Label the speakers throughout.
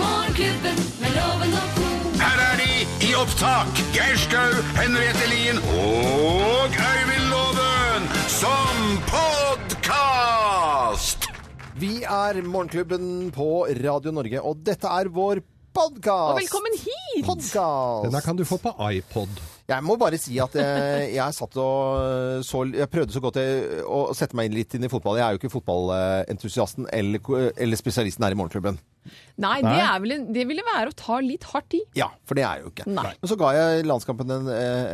Speaker 1: Morgenklubben med loven og ko.
Speaker 2: Her er de i opptak. Geir Skau, Henriette Lien og Øyvind Loven som podkast!
Speaker 3: Vi er Morgenklubben på Radio Norge, og dette er vår podkast!
Speaker 4: Og velkommen hit!
Speaker 3: Podcast.
Speaker 5: Den her kan du få på iPod.
Speaker 3: Jeg må bare si at jeg, jeg satt og så Jeg prøvde så godt jeg, å sette meg inn litt inn i fotball. Jeg er jo ikke fotballentusiasten eller, eller spesialisten her i Morgenklubben.
Speaker 4: Nei, Det, er vel en, det ville være å ta litt hardt i.
Speaker 3: Ja, for det er jeg jo ikke.
Speaker 4: Nei.
Speaker 3: Men så ga jeg landskampen en,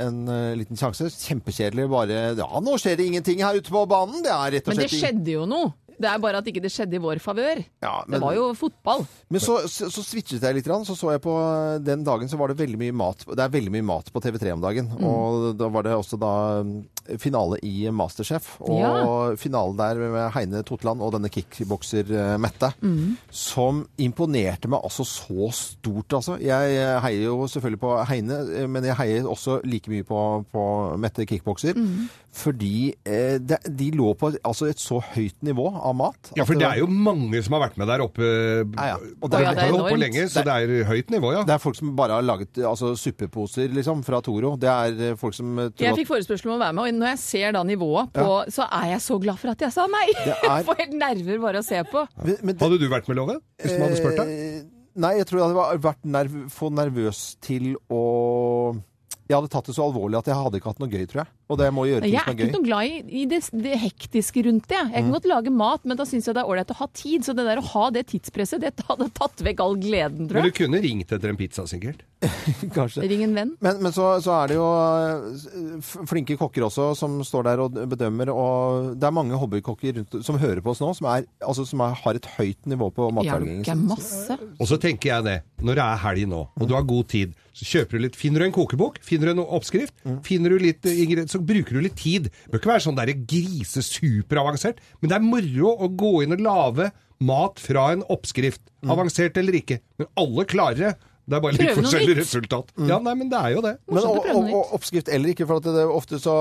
Speaker 3: en liten sjanse. Kjempekjedelig. Bare Ja, nå skjer det ingenting her ute på banen. Det er rett og
Speaker 4: Men det
Speaker 3: slett ing-
Speaker 4: skjedde jo noe. Det er bare at ikke det skjedde i vår favør.
Speaker 3: Ja, men-
Speaker 4: Det var jo fotball.
Speaker 3: Men så, så, så switchet jeg litt, grann, så så jeg på eh, den dagen så var det veldig mye mat Det er veldig mye mat på TV3 om dagen. Og da var det også da mm, finale i Masterchef. Og
Speaker 4: Ja.
Speaker 3: finalen der med Heine Totland og denne kickbokser eh, Mette. Som imponerte meg altså så stort, altså. Jeg eh, heier jo selvfølgelig på Heine, eh, men jeg heier også like mye på, på Mette kickbokser. Fordi eh, de, de lå på altså et så høyt nivå av mat.
Speaker 5: Ja, for
Speaker 3: at
Speaker 5: det
Speaker 3: var-
Speaker 5: er jo mange som har vært med der oppe.
Speaker 3: ja. Og
Speaker 5: Og
Speaker 3: det er-
Speaker 5: der,
Speaker 4: Ja, det er
Speaker 5: holdt på
Speaker 4: enormt.
Speaker 5: lenge, så det er høyt nivå, ja.
Speaker 3: Det er folk som bare har laget altså, suppeposer liksom, fra Toro. Det er eh, folk som eh, tror
Speaker 4: Jeg fikk forespørsel om å være med, og når jeg ser da nivået på, så er jeg så glad for at jeg sa nei!
Speaker 3: Det er-
Speaker 4: Jeg får helt nerver bare å se på.
Speaker 3: at Men- men det-
Speaker 5: Hadde du vært med, Love? Hvis man hadde spurt deg?
Speaker 3: eh, Nei, jeg tror jeg hadde va- vært nerv for nervøs til å Jeg hadde tatt det så alvorlig at jeg hadde ikke hatt noe gøy, tror jeg. Og det må gjøre ting
Speaker 4: Jeg er
Speaker 3: som er
Speaker 4: ikke
Speaker 3: gøy. Mm.
Speaker 4: noe glad i, i det, det hektiske rundt det. Jeg kan godt lage mat, men da syns jeg det er ålreit å ha tid. Så det der å ha det tidspresset, det hadde tatt vekk all gleden, tror
Speaker 5: Men
Speaker 4: jeg.
Speaker 5: du kunne ringt etter en pizza, sikkert.
Speaker 3: Kanskje.
Speaker 4: Ring en venn.
Speaker 3: Men, men så, så er det jo eh, f- flinke kokker også som står der og bedømmer. Og det er mange hobbykokker rundt, som hører på oss nå, som, er, altså, som er, har et høyt nivå på
Speaker 4: Ja,
Speaker 3: matlagingen.
Speaker 4: det er masse.
Speaker 5: Og så tenker jeg det, når det er helg nå, og du har god tid, så kjøper du litt Finner du en kokebok? Finner du en oppskrift? Finner du litt eh, ingre- Så bruker du litt tid. Det bør ikke være sånn derre grisesuperavansert, men det er moro å gå inn og lage mat fra en oppskrift. Avansert eller ikke. Men alle klarer det. Det er bare litt
Speaker 4: Mm. Prøve noe
Speaker 5: forskjellig
Speaker 4: nytt. Mm.
Speaker 5: resultat. Ja, nei, men det er jo det.
Speaker 3: Men
Speaker 4: Morsomt å
Speaker 3: og,
Speaker 4: prøve
Speaker 3: og,
Speaker 4: noe
Speaker 3: og oppskrift eller ikke, for at det, ofte så,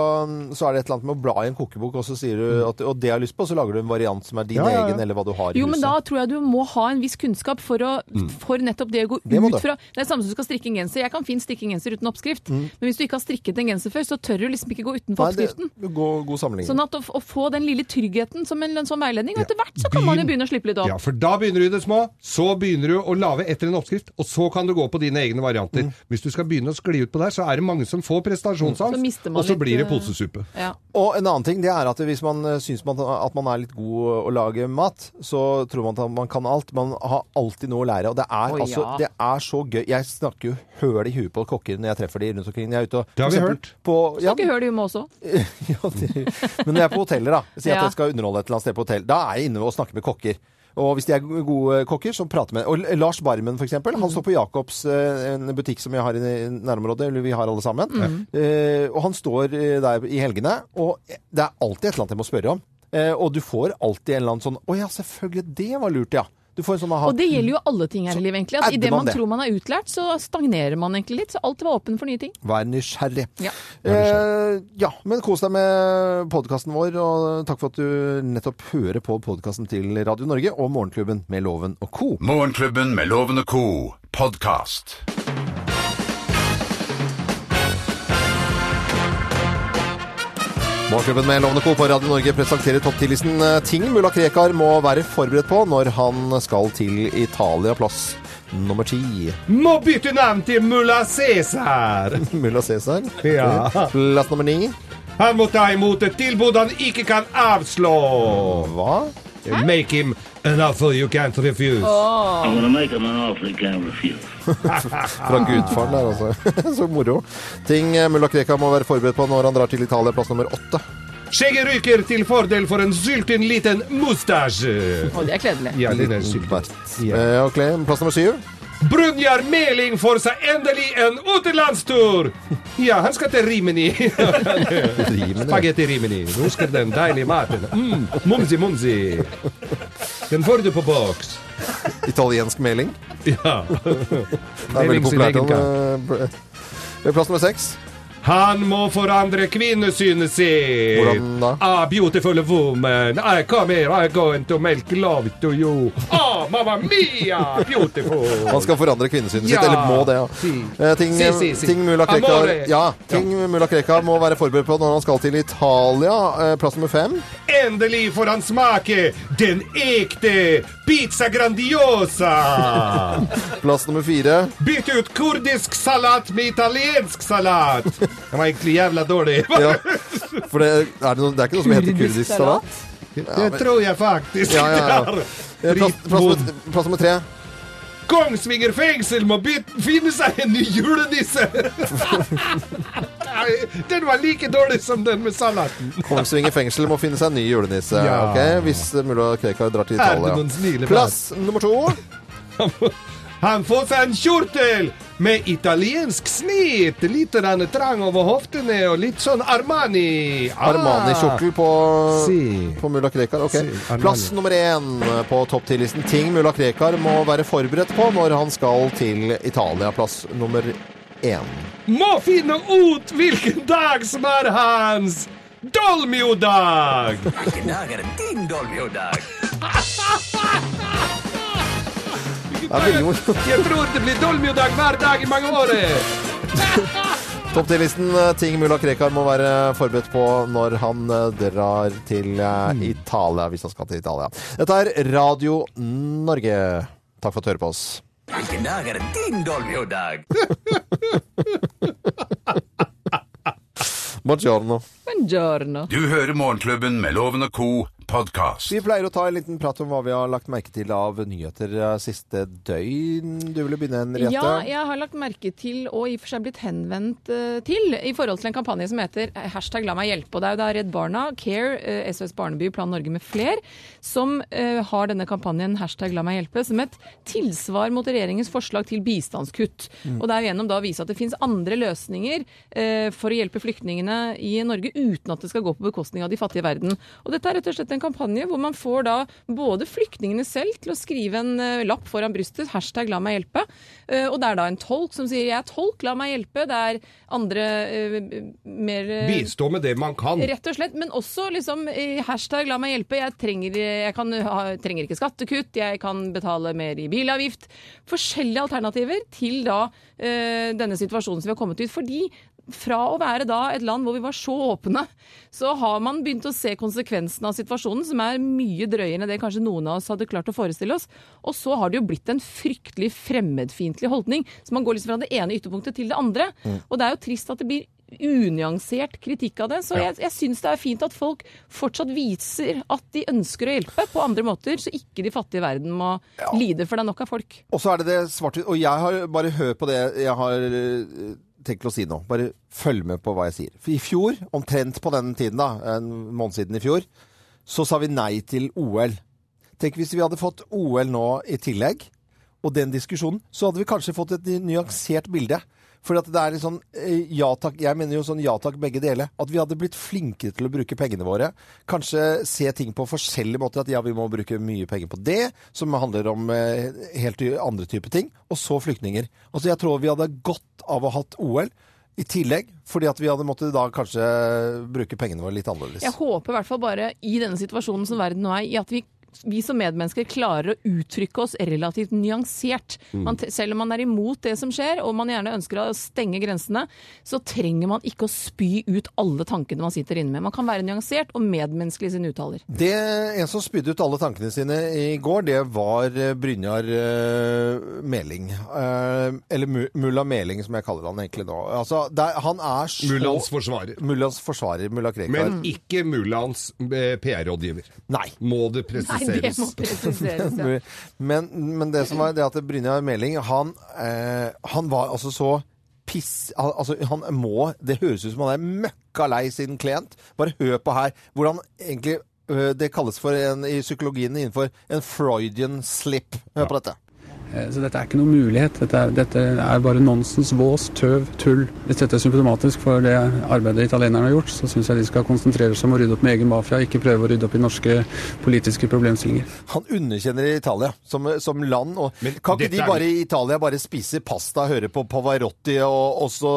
Speaker 3: så er det et eller annet med å bla i en kokebok, og så sier du
Speaker 4: Mm.
Speaker 3: at og det jeg har lyst på, så lager du en variant som er din
Speaker 5: Ja, ja, ja.
Speaker 3: egen, eller hva du har i
Speaker 4: Jo, men
Speaker 3: huset.
Speaker 4: da tror jeg du må ha en viss kunnskap for, å, for nettopp det å gå
Speaker 3: Det må
Speaker 4: ut
Speaker 3: du. Mm.
Speaker 4: fra Det er samme som du skal strikke en genser. Jeg kan fint strikke en genser uten oppskrift, men hvis du ikke har strikket en genser før, så tør du liksom ikke gå utenfor
Speaker 3: Nei, det-
Speaker 4: oppskriften.
Speaker 3: god, god sammenligning.
Speaker 4: Sånn at å, f- å få den lille tryggheten som en lønnsom veiledning, og etter hvert så kan
Speaker 5: Begynn-
Speaker 4: man jo begynne å slippe litt opp.
Speaker 5: Ja, for da begynner du i det små, så begynner du å lage etter en oppskrift, og så kan du gå på dine egne varianter.
Speaker 4: Mm.
Speaker 5: Hvis du skal begynne å skli ut på der, så er det mange som får prestasjonsangst,
Speaker 4: Så mister man
Speaker 5: og så
Speaker 4: litt,
Speaker 5: blir det
Speaker 4: eh,
Speaker 5: posesuppe.
Speaker 4: Ja.
Speaker 3: Og en annen ting, det er at hvis man eh, syns man, at man er litt god å lage mat, så tror man at man kan alt. Man har alltid noe å lære, og det er,
Speaker 4: Å,
Speaker 3: altså,
Speaker 4: ja.
Speaker 3: det er så gøy. Jeg snakker jo høl i huet på kokker når jeg treffer de rundt omkring. Jeg er ute og
Speaker 5: Det har vi
Speaker 3: for eksempel
Speaker 5: hørt.
Speaker 3: På, ja,
Speaker 4: Skal ikke høre det hjemme også.
Speaker 3: ja, det, men når jeg er på hoteller, da, sier jeg at
Speaker 4: Ja.
Speaker 3: jeg skal underholde et eller annet sted på hotell, da er jeg inne og snakker med kokker. Og hvis de er gode kokker, så prater med Og Lars Barmen, for eksempel.
Speaker 4: Mm.
Speaker 3: Han står på Jacobs, eh, en butikk som jeg har i nærområdet, eller vi har alle sammen.
Speaker 4: Mm.
Speaker 3: Eh, og han står eh, der i helgene, og det er alltid et eller annet jeg må spørre om. Eh, og du får alltid en eller annen sånn Å ja, selvfølgelig, det var lurt, ja. Du får en sånn aha.
Speaker 4: Og det gjelder jo alle ting her i livet, egentlig. At
Speaker 3: adder
Speaker 4: Idet
Speaker 3: man
Speaker 4: man
Speaker 3: det.
Speaker 4: tror man er utlært, så stagnerer man egentlig litt. Så alt var åpen for nye ting.
Speaker 3: Vær nysgjerrig.
Speaker 4: Ja.
Speaker 3: Eh, ja, men kos deg med podkasten vår, og takk for at du nettopp hører på podkasten til Radio Norge og Morgenklubben med Loven og co.
Speaker 2: Morgenklubben med Loven og co. podkast.
Speaker 3: Morgenklubben med Loven og co. på Radio Norge presenterer topp 10-listen eh, ting mulla Krekar må være forberedt på når han skal til Italia, plass nummer ti.
Speaker 5: Må bytte navn til mulla Cæsar!
Speaker 3: Mulla Cæsar.
Speaker 5: Ja.
Speaker 3: Plass nummer ni.
Speaker 5: Han må ta imot et tilbud han ikke kan avslå!
Speaker 3: Hva?
Speaker 5: Make him an offer you can't refuse.
Speaker 6: I'm gonna make him an offer he can't refuse.
Speaker 3: Fra gudfaren der, altså. Så moro. Ting eh, mulla Krekar må være forberedt på når han drar til Italia, plass nummer åtte.
Speaker 5: Skjegget ryker til fordel for en syltynn liten mustasje!
Speaker 4: Og det er kledelig.
Speaker 5: Ja, den er
Speaker 3: Liten
Speaker 5: syltynn.
Speaker 3: bert.
Speaker 5: Ja.
Speaker 3: Eh, ok, plass nummer syv.
Speaker 5: Brunjar Meling får seg endelig en utenlandstur! Ja, han skal til Rimini.
Speaker 3: Driver med det.
Speaker 5: Spagetti Rimini. Nå skal den deilige maten. Mm, mumsi, mumsi. Den får du på boks.
Speaker 3: Italiensk meling.
Speaker 5: Ja.
Speaker 3: Det er veldig
Speaker 5: Meling sin
Speaker 3: populært.
Speaker 5: egen
Speaker 3: om, eh, pl- Plass nummer seks.
Speaker 5: Han må forandre kvinnesynet sitt.
Speaker 3: Hvordan da?
Speaker 5: Ah, beautiful woman. I come here, I going to make love to you. Ah, mamma mia, beautiful.
Speaker 3: Man skal forandre kvinnesynet sitt,
Speaker 5: Ja.
Speaker 3: eller må det. Ja.
Speaker 5: Si.
Speaker 3: Eh, ting
Speaker 5: Si, si, si.
Speaker 3: ting mulla Krekar
Speaker 5: Amore.
Speaker 3: ja, ting mulla Krekar må være forberedt på når han skal til Italia. Eh, Plass nummer fem.
Speaker 5: Endelig får han smake den ekte pizza grandiosa.
Speaker 3: Plass nummer fire.
Speaker 5: Bytte ut kurdisk salat med italiensk salat. Den var egentlig jævla dårlig.
Speaker 3: Ja. For det er, det noe, det er ikke noe som heter kurdisk salat?
Speaker 5: Det tror jeg faktisk.
Speaker 3: Ja, ja, ja.
Speaker 5: det
Speaker 3: Eh, Plass,
Speaker 5: er.
Speaker 3: plass,
Speaker 5: Drittbom.
Speaker 3: nummer, plass nummer tre.
Speaker 5: Kongsvinger fengsel må byt- finne seg en ny julenisse. Nei, den var like dårlig som den med salaten.
Speaker 3: Kongsvinger fengsel må finne seg en ny julenisse.
Speaker 5: Ja.
Speaker 3: ok? Hvis eh, mulla Krekar drar til
Speaker 5: Er det
Speaker 3: Italia.
Speaker 5: noen snille
Speaker 3: Plass nummer to.
Speaker 5: Han får seg en kjortel med italiensk snitt. Litt grann trang over hoftene og litt sånn Armani. Ah.
Speaker 3: Armani-kjortel på,
Speaker 5: Si.
Speaker 3: på mulla Krekar. ok.
Speaker 5: Si, Armani.
Speaker 3: Plass nummer én på topp 10-listen. Ting mulla Krekar må være forberedt på når han skal til Italia. Plass nummer én.
Speaker 5: Må finne ut hvilken dag som er hans dolmiodag.
Speaker 3: Det er veldig morsomt.
Speaker 5: Jeg tror det blir dolmiodag hver dag i mange år.
Speaker 3: Topp 10-listen eh, ting mulla Krekar må være forberedt på når han eh, drar til eh,
Speaker 5: Mm.
Speaker 3: Italia, hvis han skal til Italia. Dette er Radio Norge. Takk for at du hører på oss.
Speaker 7: Hvilken dag er det din dolmiodag?
Speaker 3: Buongiorno.
Speaker 4: Buongiorno.
Speaker 2: Du hører Morgenklubben med Loven og Co. podkast.
Speaker 3: Vi pleier å ta en liten prat om hva vi har lagt merke til av nyheter eh, siste døgn. Du ville begynne, Henriette?
Speaker 4: Ja, jeg har lagt merke til, og i og for seg blitt henvendt eh, til, i forhold til en kampanje som heter eh, hashtag la meg hjelpe. Og det er jo da Redd Barna, Care, eh, SOS Barneby, Plan Norge med fler, som eh, har denne kampanjen hashtag la meg hjelpe som et tilsvar mot regjeringens forslag til bistandskutt. Og det er jo gjennom da å vise at det finnes andre løsninger eh, for å hjelpe flyktningene i Norge uten at det skal gå på bekostning av de fattige i verden. Og dette er rett og slett en kampanje hvor man får da både flyktningene selv til å skrive en eh, lapp foran brystet, hashtag la meg hjelpe, eh, og det er da en tolk som sier jeg er tolk, la meg hjelpe, det er andre eh, mer eh,
Speaker 5: Bistå med det man kan.
Speaker 4: Rett og slett, men også liksom eh, hashtag la meg hjelpe. Jeg trenger, jeg kan, ha, trenger ikke skattekutt, jeg kan betale mer i bilavgift. Forskjellige alternativer til da eh, denne situasjonen som vi har kommet ut. Fordi fra å være da et land hvor vi var så åpne, så har man begynt å se konsekvensene av situasjonen, som er mye drøyere enn det kanskje noen av oss hadde klart å forestille oss. Og så har det jo blitt en fryktelig fremmedfiendtlig holdning. Så man går liksom fra det ene ytterpunktet til det andre. Og det er jo trist at det blir unyansert kritikk av det. Så jeg, jeg syns det er fint at folk fortsatt viser at de ønsker å hjelpe på andre måter, så ikke de fattige i verden må lide, for det er nok av folk.
Speaker 3: Og så er det det svart-hvitt. Og jeg har bare hør på det jeg har eh, tenkt å si nå. Bare følg med på hva jeg sier. For i fjor, omtrent på den tiden da, en måned siden i fjor, så sa vi nei til OL. Tenk hvis vi hadde fått OL nå i tillegg, og den diskusjonen, så hadde vi kanskje fått et nyansert bilde. For at det er litt sånn eh, ja takk, jeg mener jo sånn ja takk begge deler. At vi hadde blitt flinkere til å bruke pengene våre. Kanskje se ting på forskjellige måter. At ja, vi må bruke mye penger på det, som handler om eh, helt andre typer ting. Og så flyktninger. Altså jeg tror vi hadde godt av å ha hatt OL. I tillegg, fordi at vi hadde måttet da kanskje bruke pengene våre litt annerledes.
Speaker 4: Jeg håper i hvert fall bare i denne situasjonen som verden nå er i, at vi vi som medmennesker klarer å uttrykke oss relativt nyansert. Man, t- selv om man er imot det som skjer, og man gjerne ønsker å stenge grensene, så trenger man ikke å spy ut alle tankene man sitter inne med. Man kan være nyansert og medmenneskelig i sine uttaler.
Speaker 3: Det En som spydde ut alle tankene sine i går, det var eh, Brynjar eh, Meling. Eh, eller Mu- mulla Meling, som jeg kaller han egentlig nå. Altså, det er, han er så
Speaker 5: Mullans forsvarer.
Speaker 3: Mullans forsvarer, mulla Krekar.
Speaker 5: Men ikke mullans eh, PR-rådgiver.
Speaker 3: Nei.
Speaker 5: Må det
Speaker 4: Nei, det
Speaker 5: presiseres.
Speaker 4: må presiseres. Ja.
Speaker 3: Men, men det som var det at Brynjar Meling, han, eh, han var altså så piss... al- Altså, han må Det høres ut som han er møkka lei sin klient. Bare hør på her hvordan egentlig eh, ø, det kalles for en, i psykologien innenfor en Freudian slip. Hør på dette.
Speaker 8: Eh, Så dette er ikke noen mulighet. Dette er, dette er bare nonsens, vås, tøv, tull. Hvis dette er symptomatisk for det arbeidet italienerne har gjort, så syns jeg de skal konsentrere seg om å rydde opp med egen mafia, ikke prøve å rydde opp i norske politiske problemstillinger.
Speaker 3: Han underkjenner Italia som, som land. Og
Speaker 5: Men
Speaker 3: kan ikke
Speaker 5: dette
Speaker 3: de
Speaker 5: er-
Speaker 3: bare i Italia bare spise pasta, høre på Pavarotti og, og så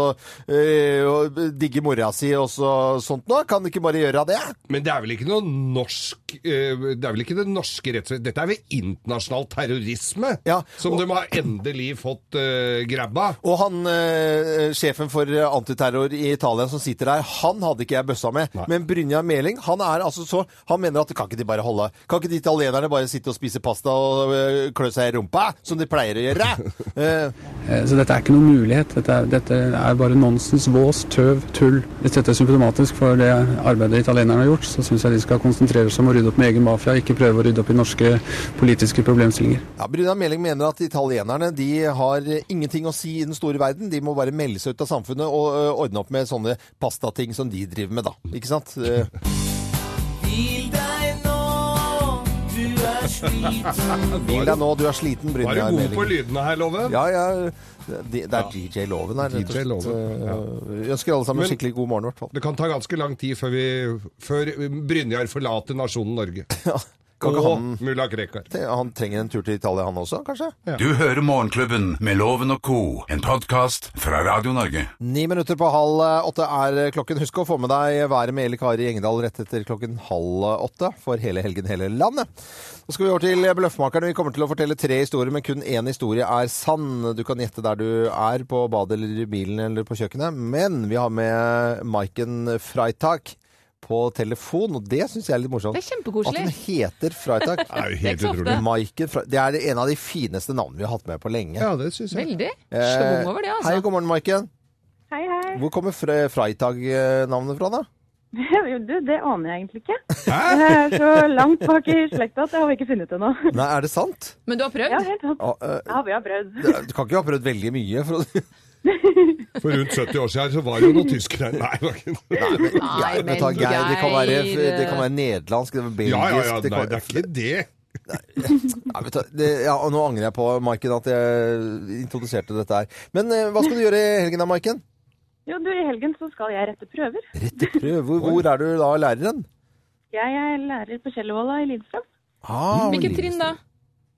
Speaker 3: øh, og digge mora si og så, sånt noe? Kan de ikke bare gjøre det?
Speaker 5: Men det er vel ikke noe norsk eh, Det er vel ikke det norske rettsvesenet Dette er vel internasjonal terrorisme
Speaker 3: Ja,
Speaker 5: som
Speaker 3: og-
Speaker 5: de har endelig fått eh, grabba.
Speaker 3: Og han, øh, sjefen for antiterror i Italia som sitter der, han hadde ikke jeg bøssa med.
Speaker 5: Nei.
Speaker 3: Men Brynjar Meling, han er altså så Han mener at kan ikke de bare holde Kan ikke de italienerne bare sitte og spise pasta og øh, klø seg i rumpa, som de pleier å gjøre? Eh,
Speaker 8: Eh, Så dette er ikke noen mulighet. Dette er, dette er bare nonsens, vås, tøv, tull. Hvis dette er symptomatisk for det arbeidet italienerne har gjort, så syns jeg de skal konsentrere seg om å rydde opp med egen mafia, ikke prøve å rydde opp i norske politiske problemstillinger.
Speaker 3: Ja, Bruna Meling mener at italienerne de har ingenting å si i den store verden. De må bare melde seg ut av samfunnet og ø, ordne opp med sånne pastating som de driver med, da. Ikke sant? Eh, Hvil deg nå, du er sliten,
Speaker 5: Var
Speaker 3: Bruna
Speaker 5: du god på
Speaker 3: Meling.
Speaker 5: lydene her, Loven?
Speaker 3: Ja, ja. Det, det er DJ Loven her, rett og
Speaker 5: DJ
Speaker 3: slett.
Speaker 5: Loven, ja.
Speaker 3: Eh, Vi ønsker alle sammen
Speaker 5: Men-
Speaker 3: skikkelig god morgen, i hvert fall.
Speaker 5: Det kan ta ganske lang tid før, vi, før Brynjar forlater nasjonen Norge.
Speaker 3: Kan ikke han,
Speaker 5: Og mulla Krekar.
Speaker 3: han trenger en tur til Italia, han også, kanskje?
Speaker 2: Du hører Morgenklubben med Loven og Co., en podkast fra Radio Norge.
Speaker 3: Ni minutter på halv åtte er klokken. Husk å få med deg været med Eli Kari Engedal rett etter klokken halv åtte for hele helgen, hele landet. Nå skal vi over til Bløffmakeren. Vi kommer til å fortelle tre historier, men kun én historie er sann. Du kan gjette der du er, på badet eller i bilen eller på kjøkkenet. Men vi har med Maiken Freitag på telefon, og det syns jeg er litt morsomt.
Speaker 4: Det er kjempekoselig.
Speaker 3: At hun heter Freitag.
Speaker 5: Det er jo
Speaker 4: Det er
Speaker 5: helt
Speaker 4: ikke så
Speaker 5: utrolig.
Speaker 4: ofte.
Speaker 3: Maiken Fre- Det er en av de fineste navnene vi har hatt med på lenge.
Speaker 5: Ja, det syns jeg.
Speaker 4: Veldig.
Speaker 3: Eh,
Speaker 4: Schwung over det,
Speaker 3: Hei,
Speaker 4: altså.
Speaker 3: god morgen, Maiken.
Speaker 9: Hei, hei.
Speaker 3: Hvor kommer Fre- Freitag-navnet fra, da?
Speaker 9: Jo, du, det aner jeg egentlig ikke.
Speaker 5: Hæ?
Speaker 9: Jeg er så langt bak i slekta at det har vi ikke funnet ennå.
Speaker 3: Nei, er det sant?
Speaker 4: Men du har prøvd?
Speaker 9: Ja, helt sant.
Speaker 3: Ja, eh,
Speaker 9: Ja, vi har prøvd.
Speaker 3: du kan ikke ha prøvd veldig mye. For å...
Speaker 5: For rundt 70 år siden så var det jo noen tyskere Nei, det var ikke
Speaker 4: Nei,
Speaker 3: Vet du hva, Geir, det, kan være,
Speaker 4: Geir.
Speaker 3: det kan være nederlandsk, det kan være belgisk
Speaker 5: Ja, ja, ja.
Speaker 3: det
Speaker 5: Nei,
Speaker 3: kan...
Speaker 5: det er ikke det.
Speaker 3: Ja, vet du, det, ja, og Nå angrer jeg på, Maiken, at jeg introduserte dette her. Men eh, hva skal du gjøre i helgen da, Maiken?
Speaker 9: Jo, du, i helgen så skal jeg rette prøver.
Speaker 3: Rett i prøve. Hvor, hvor er du da læreren?
Speaker 9: Jeg er lærer på Kjellervolla i Lillestrøm.
Speaker 3: Ah,
Speaker 4: Hvilket trinn da?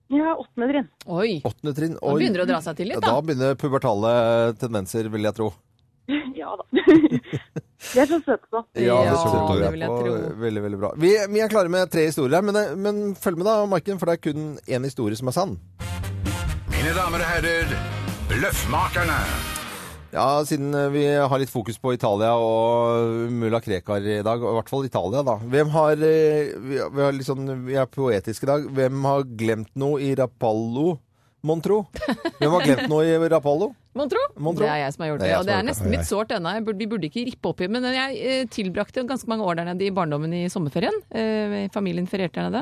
Speaker 9: Jeg har åttende trinn.
Speaker 4: Oi,
Speaker 3: Åttende trinn.
Speaker 4: nå
Speaker 3: Oi.
Speaker 4: begynner det å dra seg til
Speaker 3: Ja,
Speaker 4: litt,
Speaker 3: da
Speaker 4: da.
Speaker 3: begynner pubertale tendenser, vil jeg tro.
Speaker 9: Ja da. De er så søte, så.
Speaker 4: Ja,
Speaker 3: det tror
Speaker 5: det
Speaker 4: vil jeg
Speaker 3: på.
Speaker 4: tro.
Speaker 3: Veldig, veldig bra. Vi, vi er klare med tre historier her, men, eh, men følg med da, Maiken, for det er kun én historie som er sann.
Speaker 2: Mine damer og herrer, Bløffmakerne.
Speaker 3: Ja, siden eh, vi har litt fokus på Italia og mulla Krekar i dag, og i hvert fall Italia, da. Hvem har eh, Vi vi har litt sånn- vi er poetiske i dag. Hvem har glemt noe i Rapallo, mon tro? Hvem har glemt noe i Rapallo?
Speaker 4: Mon tro?
Speaker 3: Mon tro?
Speaker 4: Det er jeg som har gjort
Speaker 3: Det er
Speaker 4: det. Og
Speaker 3: jeg som
Speaker 4: det
Speaker 3: har
Speaker 4: er
Speaker 3: gjort
Speaker 4: nesten litt sårt ennå. Jeg burde- Vi burde ikke rippe opp i men jeg eh, tilbrakte ganske mange år der nede i barndommen i sommerferien. Eh, Familien ferierte der nede.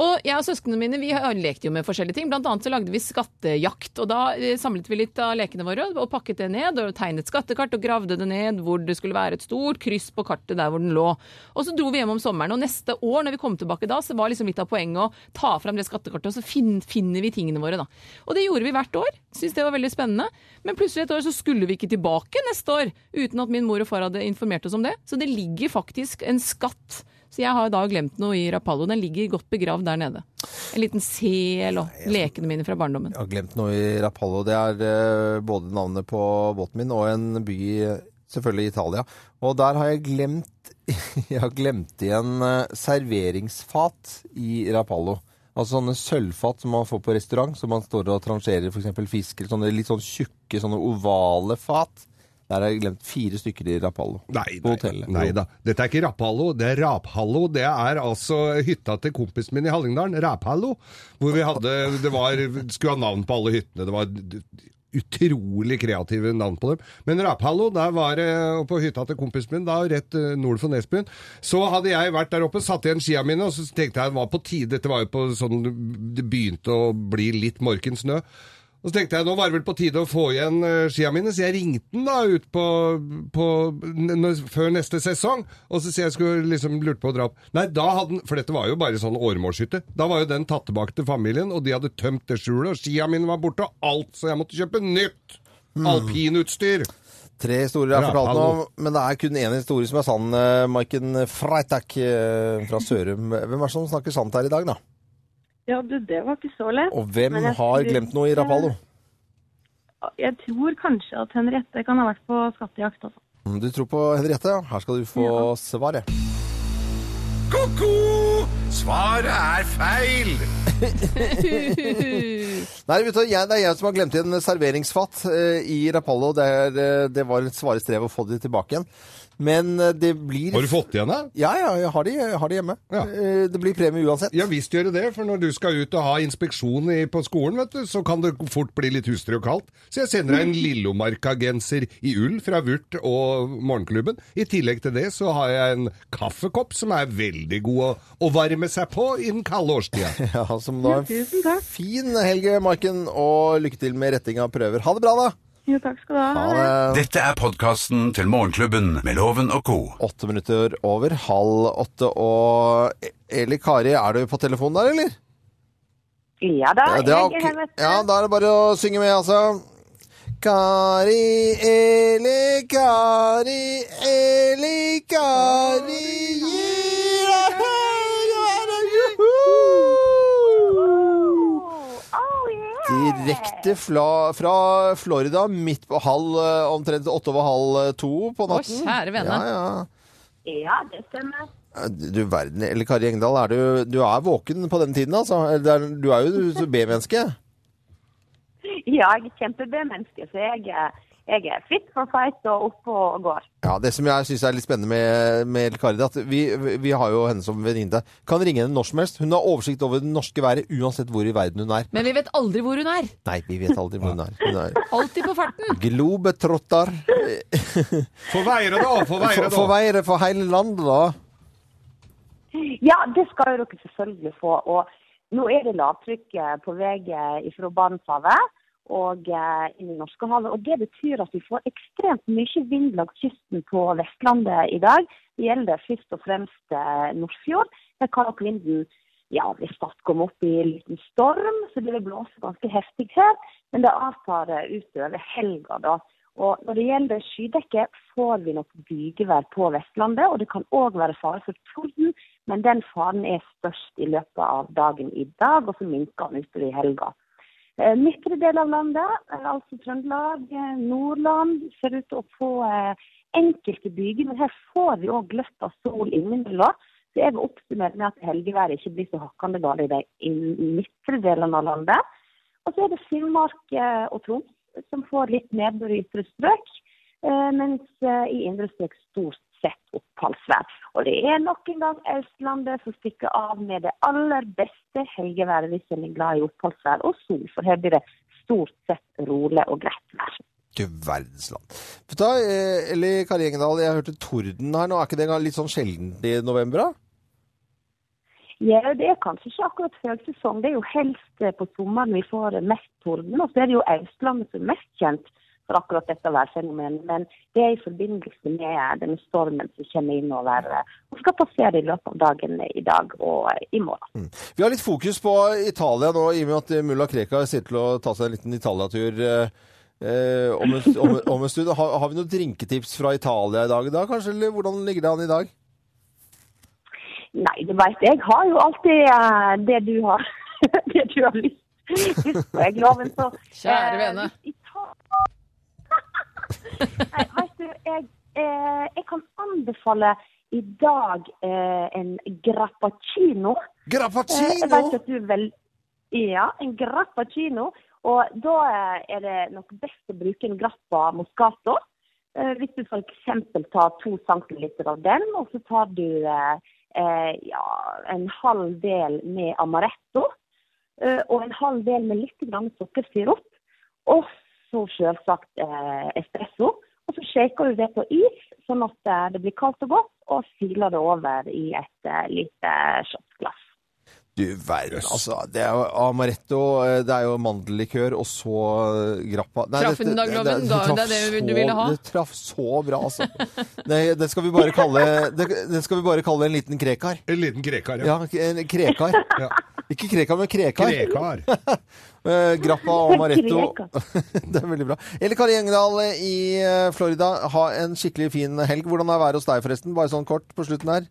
Speaker 4: Og jeg og søsknene mine vi har lekt jo med forskjellige ting. Blant annet så lagde vi skattejakt. Og da eh, samlet vi litt av lekene våre og pakket det ned. Og tegnet skattekart og gravde det ned hvor det skulle være et stort kryss på kartet der hvor den lå. Og så dro vi hjem om sommeren. Og neste år når vi kom tilbake da, så var liksom litt av poenget å ta fram det skattekartet, og så fin, finner vi tingene våre, da. Og det gjorde vi hvert år. Syns det var veldig spennende. Men plutselig et år så skulle vi ikke tilbake neste år, uten at min mor og far hadde informert oss om det. Så det ligger faktisk en skatt. Så jeg har da glemt noe i Rapallo. Den ligger godt begravd der nede. En liten sel og lekene mine fra barndommen.
Speaker 3: Jeg har glemt noe i Rapallo. Det er eh, både navnet på båten min og en by, eh, selvfølgelig i Italia. Og der har jeg glemt Jeg har glemt igjen eh, serveringsfat i Rapallo. Altså sånne sølvfat som man får på restaurant, som man står og trangerer f.eks. fisk eller sånne litt sånn tjukke, sånne ovale fat. Der har jeg glemt fire stykker i Rapallo.
Speaker 5: Nei,
Speaker 3: På
Speaker 5: nei,
Speaker 3: hotellet.
Speaker 5: nei da. Dette er ikke Rapphallo, det er Raphallo. Det er altså hytta til kompisen min i Hallingdalen, Raphallo. Hvor vi hadde Det var, skulle ha navn på alle hyttene. Det var d- utrolig kreative navn på dem. Men Raphallo, der var det og på hytta til kompisen min, da rett eh, nord for Nesbyen. Så hadde jeg vært der oppe, satt igjen skia mine, og så tenkte jeg det var på tide. Dette var jo på sånn Det begynte å bli litt morken snø. Og så tenkte jeg, nå var det vel på tide å få igjen eh, skia mine, så jeg ringte den da ut på, på n n- før neste sesong, og så sier jeg skulle liksom lurt på å dra opp. Nei, da hadde den, for dette var jo bare sånn åremålshytte, da var jo den tatt tilbake til familien, og de hadde tømt det skjulet, og skia mine var borte og alt, så jeg måtte kjøpe nytt alpinutstyr.
Speaker 3: Tre historier er
Speaker 5: Ja,
Speaker 3: fortalt nå,
Speaker 5: hallo.
Speaker 3: men det er kun én historie som er sann. eh, Maiken Freitag eh, fra Sørum. Hvem er det som snakker sant her i dag, da?
Speaker 9: Ja, du, det var ikke så lett.
Speaker 3: Og hvem
Speaker 9: Men jeg
Speaker 3: har
Speaker 9: tror
Speaker 3: glemt noe i
Speaker 9: ikke-
Speaker 3: Rapallo?
Speaker 9: Jeg tror kanskje at Henriette kan ha vært på skattejakt. Altså.
Speaker 3: Om Mm, Du tror på Henriette? Her skal du få svaret.
Speaker 2: Ko-ko! Svaret er feil!
Speaker 4: Uhuh.
Speaker 3: Nei, vet du, jeg, det er jeg som har glemt igjen serveringsfatt eh, i Rapallo. Det, er, eh, det var et svare strev å få det tilbake igjen. Men eh, det blir
Speaker 5: Har du fått igjen det?
Speaker 3: Ja, ja, jeg har det, jeg har det hjemme.
Speaker 5: Ja.
Speaker 3: Eh, Det blir premie uansett.
Speaker 5: Ja visst gjør det det, for når du skal ut og ha inspeksjon i, på skolen, vet du, så kan det fort bli litt hustrig og kaldt. Så jeg sender deg en Lillomarka-genser i ull fra Vurt og Morgenklubben. I tillegg til det så har jeg en kaffekopp som er veldig god å, å varme seg på i den kalde årstida.
Speaker 3: Ja, som da
Speaker 9: Ja, tusen takk.
Speaker 3: Fin helg, Maiken, og lykke til med retting av prøver. Ha det bra, da!
Speaker 9: Jo, takk skal du ha.
Speaker 3: Ha det.
Speaker 2: Dette er podkasten til Morgenklubben med Loven og co.
Speaker 3: Åtte minutter over halv åtte, og E- Eli Kari, er du på telefonen der, eller?
Speaker 9: Ja da,
Speaker 3: Ja, det er ok- ja, da er det bare å synge med, altså. Kari, Eli, Kari, Eli, Kari gir deg høyre verden, juhu!
Speaker 9: Oh,
Speaker 3: Direkte fra, fra Florida, midt på halv, eh, omtrent åtte over halv to på
Speaker 4: Å,
Speaker 3: natten.
Speaker 4: kjære vene.
Speaker 3: Ja, ja.
Speaker 9: Ja, det stemmer.
Speaker 3: Du verden, eller Kari Engdahl, er du, du er våken på den tiden, altså? Eller det er- Du er jo B-menneske.
Speaker 9: Ja, jeg er kjempe-B-menneske, så jeg, er- jeg er fit for fight og oppe og går.
Speaker 3: Ja, Det som jeg syns er litt spennende med, med El Kari, det er at vi, vi har jo henne som venninne. Kan ringe henne når som helst. Hun har oversikt over det norske været uansett hvor i verden hun er.
Speaker 4: Men vi vet aldri hvor hun er.
Speaker 3: Nei, vi vet aldri hvor hun er. Hun er
Speaker 4: Alltid på farten.
Speaker 3: globetrotter.
Speaker 5: Få veire da, få veire
Speaker 3: For, for
Speaker 5: da.
Speaker 3: været for hele landet, da.
Speaker 9: Ja, det skal jo dere selvfølgelig få. Og nå er det lavtrykk eh, på vei fra Barentshavet og eh, inn i Norskehavet. Og det betyr at vi får ekstremt mye vind langs kysten på Vestlandet i dag. Det gjelder først og fremst eh, Nordfjord. Der kan nok vinden ja, hvis det kommer opp i en liten storm, så det vil blåse ganske heftig her. Men det avtar eh, utover helga, da. Og når det gjelder skydekke, får vi nok bygevær på Vestlandet. Og det kan òg være fare for torden, men den faren er størst i løpet av dagen i dag, og så minker den utover i helga. Eh, Midtre del av landet, eh, altså Trøndelag, eh, Nordland, ser ut til å få eh, enkelte byger. Men her får vi òg gløtt av sol innimellom. Så jeg vil oppsummere med at helgeværet ikke blir så hakkande gale i de inn- midtre delene av landet. Og så er det Finnmark eh, og Troms som får litt nedbør i ytre strøk, eh, mens eh, i indre strøk stort sett oppholdsvær. Og det er nok en gang Østlandet som stikker av med det aller beste helgeværet hvis en er glad i oppholdsvær og sol, for her blir det stort sett rolig og greit vær.
Speaker 3: Du verdens land. Vet du hva, eh, Eller Kari Engdahl, jeg hørte torden her nå. Er ikke det litt sånn sjeldent i november, da?
Speaker 9: Ja, det er kanskje ikke akkurat høgsesong. Det er jo helst eh, på sommeren vi får mest torden. Og så er det jo Østlandet som er mest kjent for akkurat dette værfenomenet. Men det er i forbindelse med eh, denne stormen som kommer innover eh, og skal passere i løpet av dagen i dag og eh, i morgen.
Speaker 3: Vi har litt fokus på Italia nå, i og med at eh, mulla Krekar ser til å ta seg en liten Italia-tur eh, eh, om, en- om, om en stund. Har, har vi noen drinketips fra Italia i dag, da, kanskje? Eller hvordan ligger det an i dag?
Speaker 9: Nei, du veit, jeg har jo alltid eh, det du har, det du har lyst lyst på. Jeg lover. Så,
Speaker 4: Kjære vene.
Speaker 9: Eh, hvis Italia- Nei, vet du, jeg, eh, jeg kan anbefale i dag eh, en grappaccino. Eh, jeg vet at du er vel... Ja, en grappaccino. Og da eh, er det nok best å bruke en grappa moscato. Eh, Hvis du f.eks. tar to centiliter av den, og så tar du eh, eh, ja, en halv del med amaretto. eh, Og en halv del med litt grann sukkersirup. Og så selvsagt eh, espresso. Og så shaker du det på is, sånn at eh, det blir kaldt og godt, og siler det over i et eh, lite shotglass.
Speaker 3: Du verden, altså. Det er jo amaretto, eh, det er jo mandellikør, og så eh, grappa Nei,
Speaker 4: Traff den da,
Speaker 3: det-
Speaker 4: Globen? Da- det
Speaker 3: traff
Speaker 4: er det du
Speaker 3: så-
Speaker 4: ville ha?
Speaker 3: Det traff så bra, altså. Nei, det skal vi bare kalle, det, det skal vi bare kalle en liten krekar.
Speaker 5: En liten krekar, ja.
Speaker 3: Ja, en krekar.
Speaker 5: ja.
Speaker 3: Ikke krekar, men krekar.
Speaker 5: Krekar.
Speaker 3: Eh, Grappa og amaretto.
Speaker 9: Krekar.
Speaker 3: det er veldig bra. Eller Kari Engedal i eh, Florida, ha en skikkelig fin helg. Hvordan er været hos deg, forresten? Bare sånn kort på slutten her.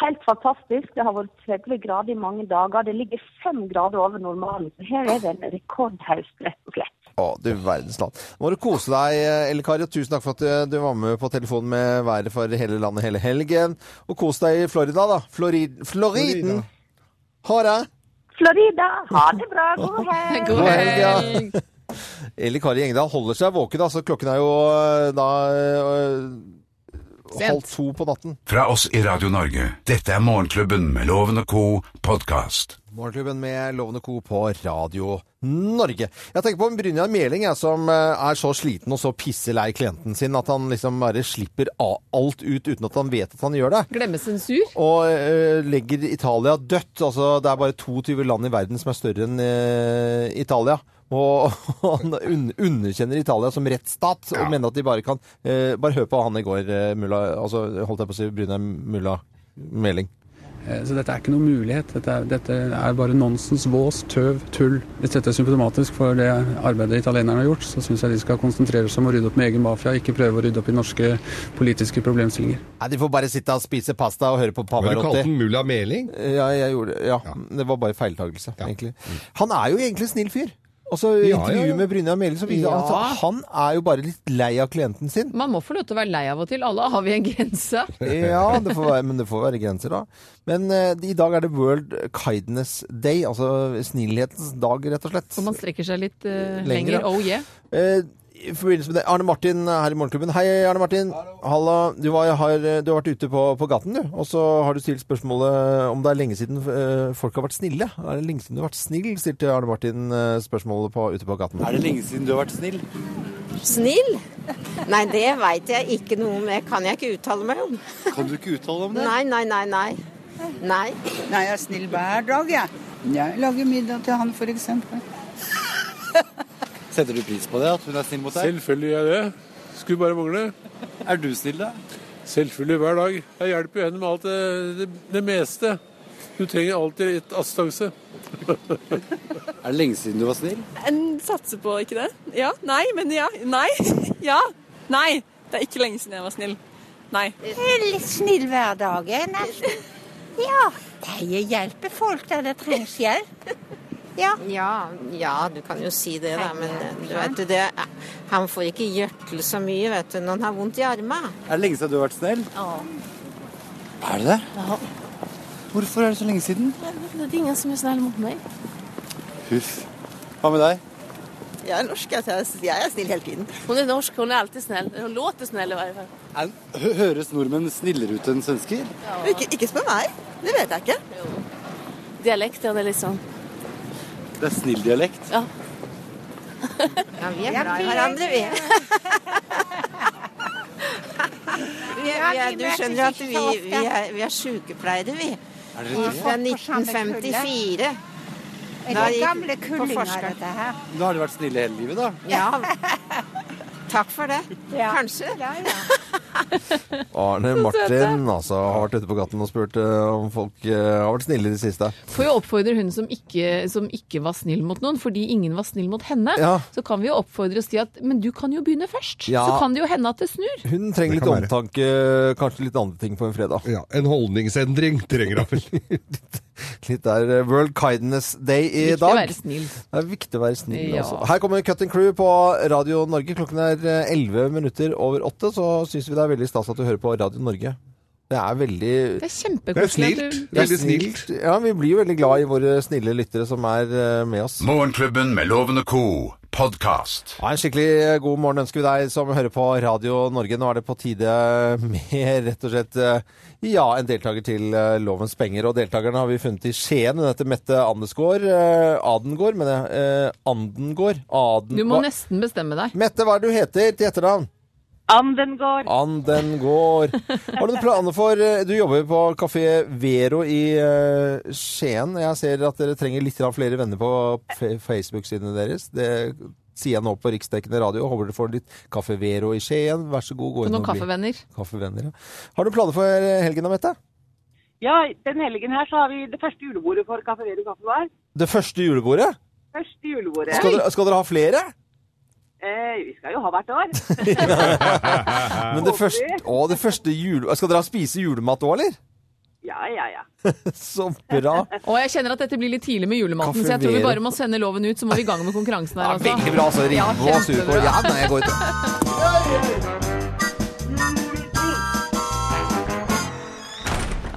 Speaker 9: Helt fantastisk. Det har vært 30 grader i mange dager. Det ligger fem grader over normalen. Så her er det en rekordhøst, rett og slett.
Speaker 3: Å, du verdens land. Nå må du kose deg, eh, Elle Kari. og Tusen takk for at eh, du var med på telefonen med været for hele landet hele helgen. Og kos deg i Florida, da. Florid Floriden!
Speaker 5: Florida.
Speaker 3: Ha det!
Speaker 9: Florida, ha det bra. God helg.
Speaker 4: God
Speaker 3: God helg, ja.
Speaker 4: helg!
Speaker 3: Elle Kari Engedal holder seg våken, altså. Klokken er jo eh, da eh,
Speaker 4: Sent.
Speaker 3: halv to på natten.
Speaker 2: Fra oss i Radio Norge. Dette er Morgenklubben med Loven og co. podkast.
Speaker 3: Morgenklubben med Lovende Co. på Radio Norge. Jeg tenker på Brynjar Meling, jeg, som eh, er så sliten og så pisselei klienten sin at han liksom bare slipper a- alt ut uten at han vet at han gjør det.
Speaker 4: Glemme sensur?
Speaker 3: Og eh, legger Italia dødt. Altså, det er bare 22 land i verden som er større enn eh, Italia. Og han un underkjenner Italia som rettsstat og mener at de bare kan eh, Bare hør på han i går, eh, mulla Altså, holdt jeg på å si Brynjar Mulla Meling.
Speaker 8: Eh, Så dette er ikke noen mulighet. Dette er, dette er bare nonsens, vås, tøv, tull. Hvis dette er symptomatisk for det arbeidet italienerne har gjort, så syns jeg de skal konsentrere seg om å rydde opp med egen mafia, ikke prøve å rydde opp i norske politiske problemstillinger.
Speaker 3: Nei, de får bare sitte og spise pasta og høre på
Speaker 5: Hva du
Speaker 3: Pavarotti.
Speaker 5: kalte den? Mulla Meling?
Speaker 3: Eh, Ja, jeg gjorde det. Ja. Det var bare feiltagelse, egentlig. Han er jo egentlig en snill fyr. Og så i
Speaker 5: Mm. Ja, ja,
Speaker 3: intervjuet
Speaker 5: ja.
Speaker 3: med Brynjar Meling så viser det
Speaker 4: Ja.
Speaker 3: altså, han er jo bare litt lei av klienten sin.
Speaker 4: Man må få lov til å være lei av og til. Alle har vi en grense.
Speaker 3: Ja, det får være, men det får være grenser, da. Men eh, i dag er det World Kindness Day, altså snillhetens dag, rett og slett.
Speaker 4: Og man strekker seg litt eh,
Speaker 3: Lenger,
Speaker 4: lenger.
Speaker 3: ja.
Speaker 4: Oh yeah.
Speaker 3: Eh, i forbindelse med det, Arne Martin her i Morgenklubben. Hei, Arne Martin. Halla. Du, var, har, du har vært ute på, på gaten, du. Og så har du stilt spørsmålet om det er lenge siden eh, folk har vært snille. Er det lenge siden du har vært snill? Stilte Arne Martin eh, spørsmålet på, ute på gaten.
Speaker 10: Er det lenge siden du har vært snill?
Speaker 11: Snill? Nei, det veit jeg ikke noe om. Det kan jeg ikke uttale meg om.
Speaker 10: Kan du ikke uttale deg om det?
Speaker 11: Nei, nei, nei, nei. Nei.
Speaker 10: Nei, jeg er snill hver dag, jeg. Jeg lager middag til han, f.eks. Setter du pris på det, at hun er snill mot deg?
Speaker 8: Selvfølgelig gjør jeg det. Skulle bare mangle.
Speaker 10: Er du snill, da?
Speaker 8: Selvfølgelig hver dag. Jeg hjelper jo henne med alt det, meste. Du trenger alltid litt assistanse.
Speaker 10: Er det lenge siden du var snill?
Speaker 11: En Mm, satser på ikke det. Ja. Nei, men ja. Nei. Ja. Nei. Det er ikke lenge siden jeg var snill. Nei.
Speaker 10: Litt snill hver dag, nesten. Ja. Jeg hjelper folk der det trengs hjelp.
Speaker 11: Ja, ja, du kan jo si det, da, men eh, du vet, det, eh, han får ikke gjørtle så mye vet du, når han har vondt i armen.
Speaker 10: Er det lenge siden du har vært snill? Ja. Er det det? Ja. Hvorfor er det så lenge siden?
Speaker 11: Det er ingen som er snill mot meg.
Speaker 10: Huff. Hva med deg?
Speaker 11: Jeg er norsk, altså. jeg er snill hele tiden. Hun er norsk, hun er alltid snill. Hun låter snill i hvert fall.
Speaker 10: Er, hø- høres nordmenn snillere ut enn svensker?
Speaker 11: Ikke, spør meg. Det vet jeg ikke. Dialektene er litt sånn
Speaker 10: Det er snill dialekt.
Speaker 11: Ja, vi er glad i hverandre, vi. vi, er, vi er, du skjønner at vi, vi, er, vi er sykepleiere, vi.
Speaker 10: Er dere det?
Speaker 11: Fra 1954. Da gikk på forskeren.
Speaker 10: Da har de vært snille hele livet, da.
Speaker 11: Ja. Takk for det. Kanskje.
Speaker 3: Arne Martin altså, har vært ute på gaten og spurt eh, om folk eh, har vært snille i det siste.
Speaker 4: Får jo oppfordre hun som ikke, som ikke var snill mot noen, fordi ingen var snill mot henne.
Speaker 3: Ja.
Speaker 4: Så kan vi jo oppfordre og si at men du kan jo begynne først.
Speaker 3: Ja.
Speaker 4: Så kan det jo hende at det snur.
Speaker 3: Hun trenger
Speaker 5: Det
Speaker 3: litt
Speaker 5: kan være.
Speaker 3: omtanke, eh, kanskje litt andre ting på en fredag.
Speaker 5: Ja, en holdningsendring trenger han vel.
Speaker 3: Litt der eh, World Kindness Day i
Speaker 4: Viktig å
Speaker 3: dag.
Speaker 4: være snill.
Speaker 3: Det er viktig å være snill.
Speaker 4: Ja.
Speaker 3: Også. Her kommer Cut and Crew på Radio Norge. Klokken er eh, 11 minutter over 8. Så syns vi det er veldig stas at du hører på Radio Norge. Det er veldig
Speaker 4: Det er
Speaker 5: Det er
Speaker 4: kjempekoselig. at
Speaker 5: snilt.
Speaker 4: du-
Speaker 5: Veldig snilt.
Speaker 3: Ja, vi blir jo veldig glad i våre snille lyttere som er eh, med oss.
Speaker 2: Morgenklubben med Loven og co. podkast.
Speaker 3: Ja, en skikkelig eh, god morgen ønsker vi deg som hører på Radio Norge. Nå er det på tide med rett og slett eh, ja, en deltaker til eh, Lovens penger. Og deltakerne har vi funnet i Skien. Hun heter Mette Andesgaard. eh, Adengård, mener jeg. Eh, Andengård? Aden...
Speaker 4: Du må
Speaker 3: Hva-
Speaker 4: nesten bestemme deg.
Speaker 3: Mette, hva er det du heter til etternavn?
Speaker 12: Anden går.
Speaker 3: Anden går. Har du noen planer for eh, Du jobber jo på Kafé Vero i eh, Skien. Jeg ser at dere trenger litt grann flere venner på fe- Facebook-sidene deres. Det sier jeg nå på riksdekkende radio. Håper dere får litt Kafé Vero i Skien. Vær så god, gå
Speaker 4: Noen
Speaker 3: inn og bli-
Speaker 4: kaffevenner.
Speaker 3: Kaffevenner, ja. Har du planer for eh, helgen da, Mette?
Speaker 12: Ja, den helgen her så har vi det første julebordet for Kafé Vero Kaffebar.
Speaker 3: Det første julebordet?
Speaker 12: Første julebordet.
Speaker 3: Skal dere, skal dere ha flere?
Speaker 12: Eh, vi skal jo ha hvert år.
Speaker 3: Men det første, å, det første jule... Skal dere ha spise julemat òg, eller?
Speaker 12: ja, ja, ja.
Speaker 3: Så bra.
Speaker 4: Og jeg kjenner at dette blir litt tidlig med julematen,
Speaker 3: Kaffe
Speaker 4: så jeg tror vi
Speaker 3: Vero.
Speaker 4: bare må sende loven ut, så må vi i gang med konkurransen her.
Speaker 3: Ja, veldig bra, altså.
Speaker 4: Ja,
Speaker 3: Ringo og Surkål.
Speaker 4: kjempebra.
Speaker 3: Ja, nei, jeg går ut.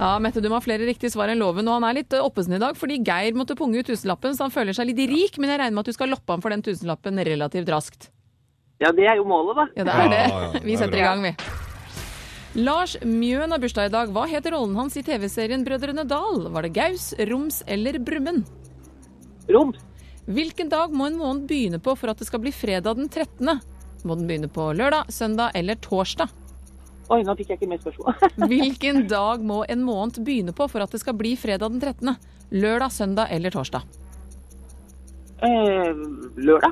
Speaker 4: Ja, Mette, du må ha flere riktige svar enn loven, og han er litt eh, oppesen i dag, fordi Geir måtte punge ut tusenlappen, så han føler seg litt rik, men jeg regner med at du skal loppe ham for den tusenlappen relativt raskt.
Speaker 12: Ja, det er jo målet, da.
Speaker 4: Ja, det er det. Vi setter i gang, vi. Lars Mjøen har bursdag i dag. Hva het rollen hans i TV-serien Brødrene Dal? Var det Gaus, Roms eller Brumund?
Speaker 12: Roms.
Speaker 4: Hvilken dag må en måned begynne på for at det skal bli fredag den 13.? Må den begynne på lørdag, søndag eller torsdag?
Speaker 12: Oi, nå fikk jeg ikke mer spørsmål.
Speaker 4: Hvilken dag må en måned begynne på for at det skal bli fredag den 13.? Lørdag, søndag eller torsdag?
Speaker 12: Eh, lørdag.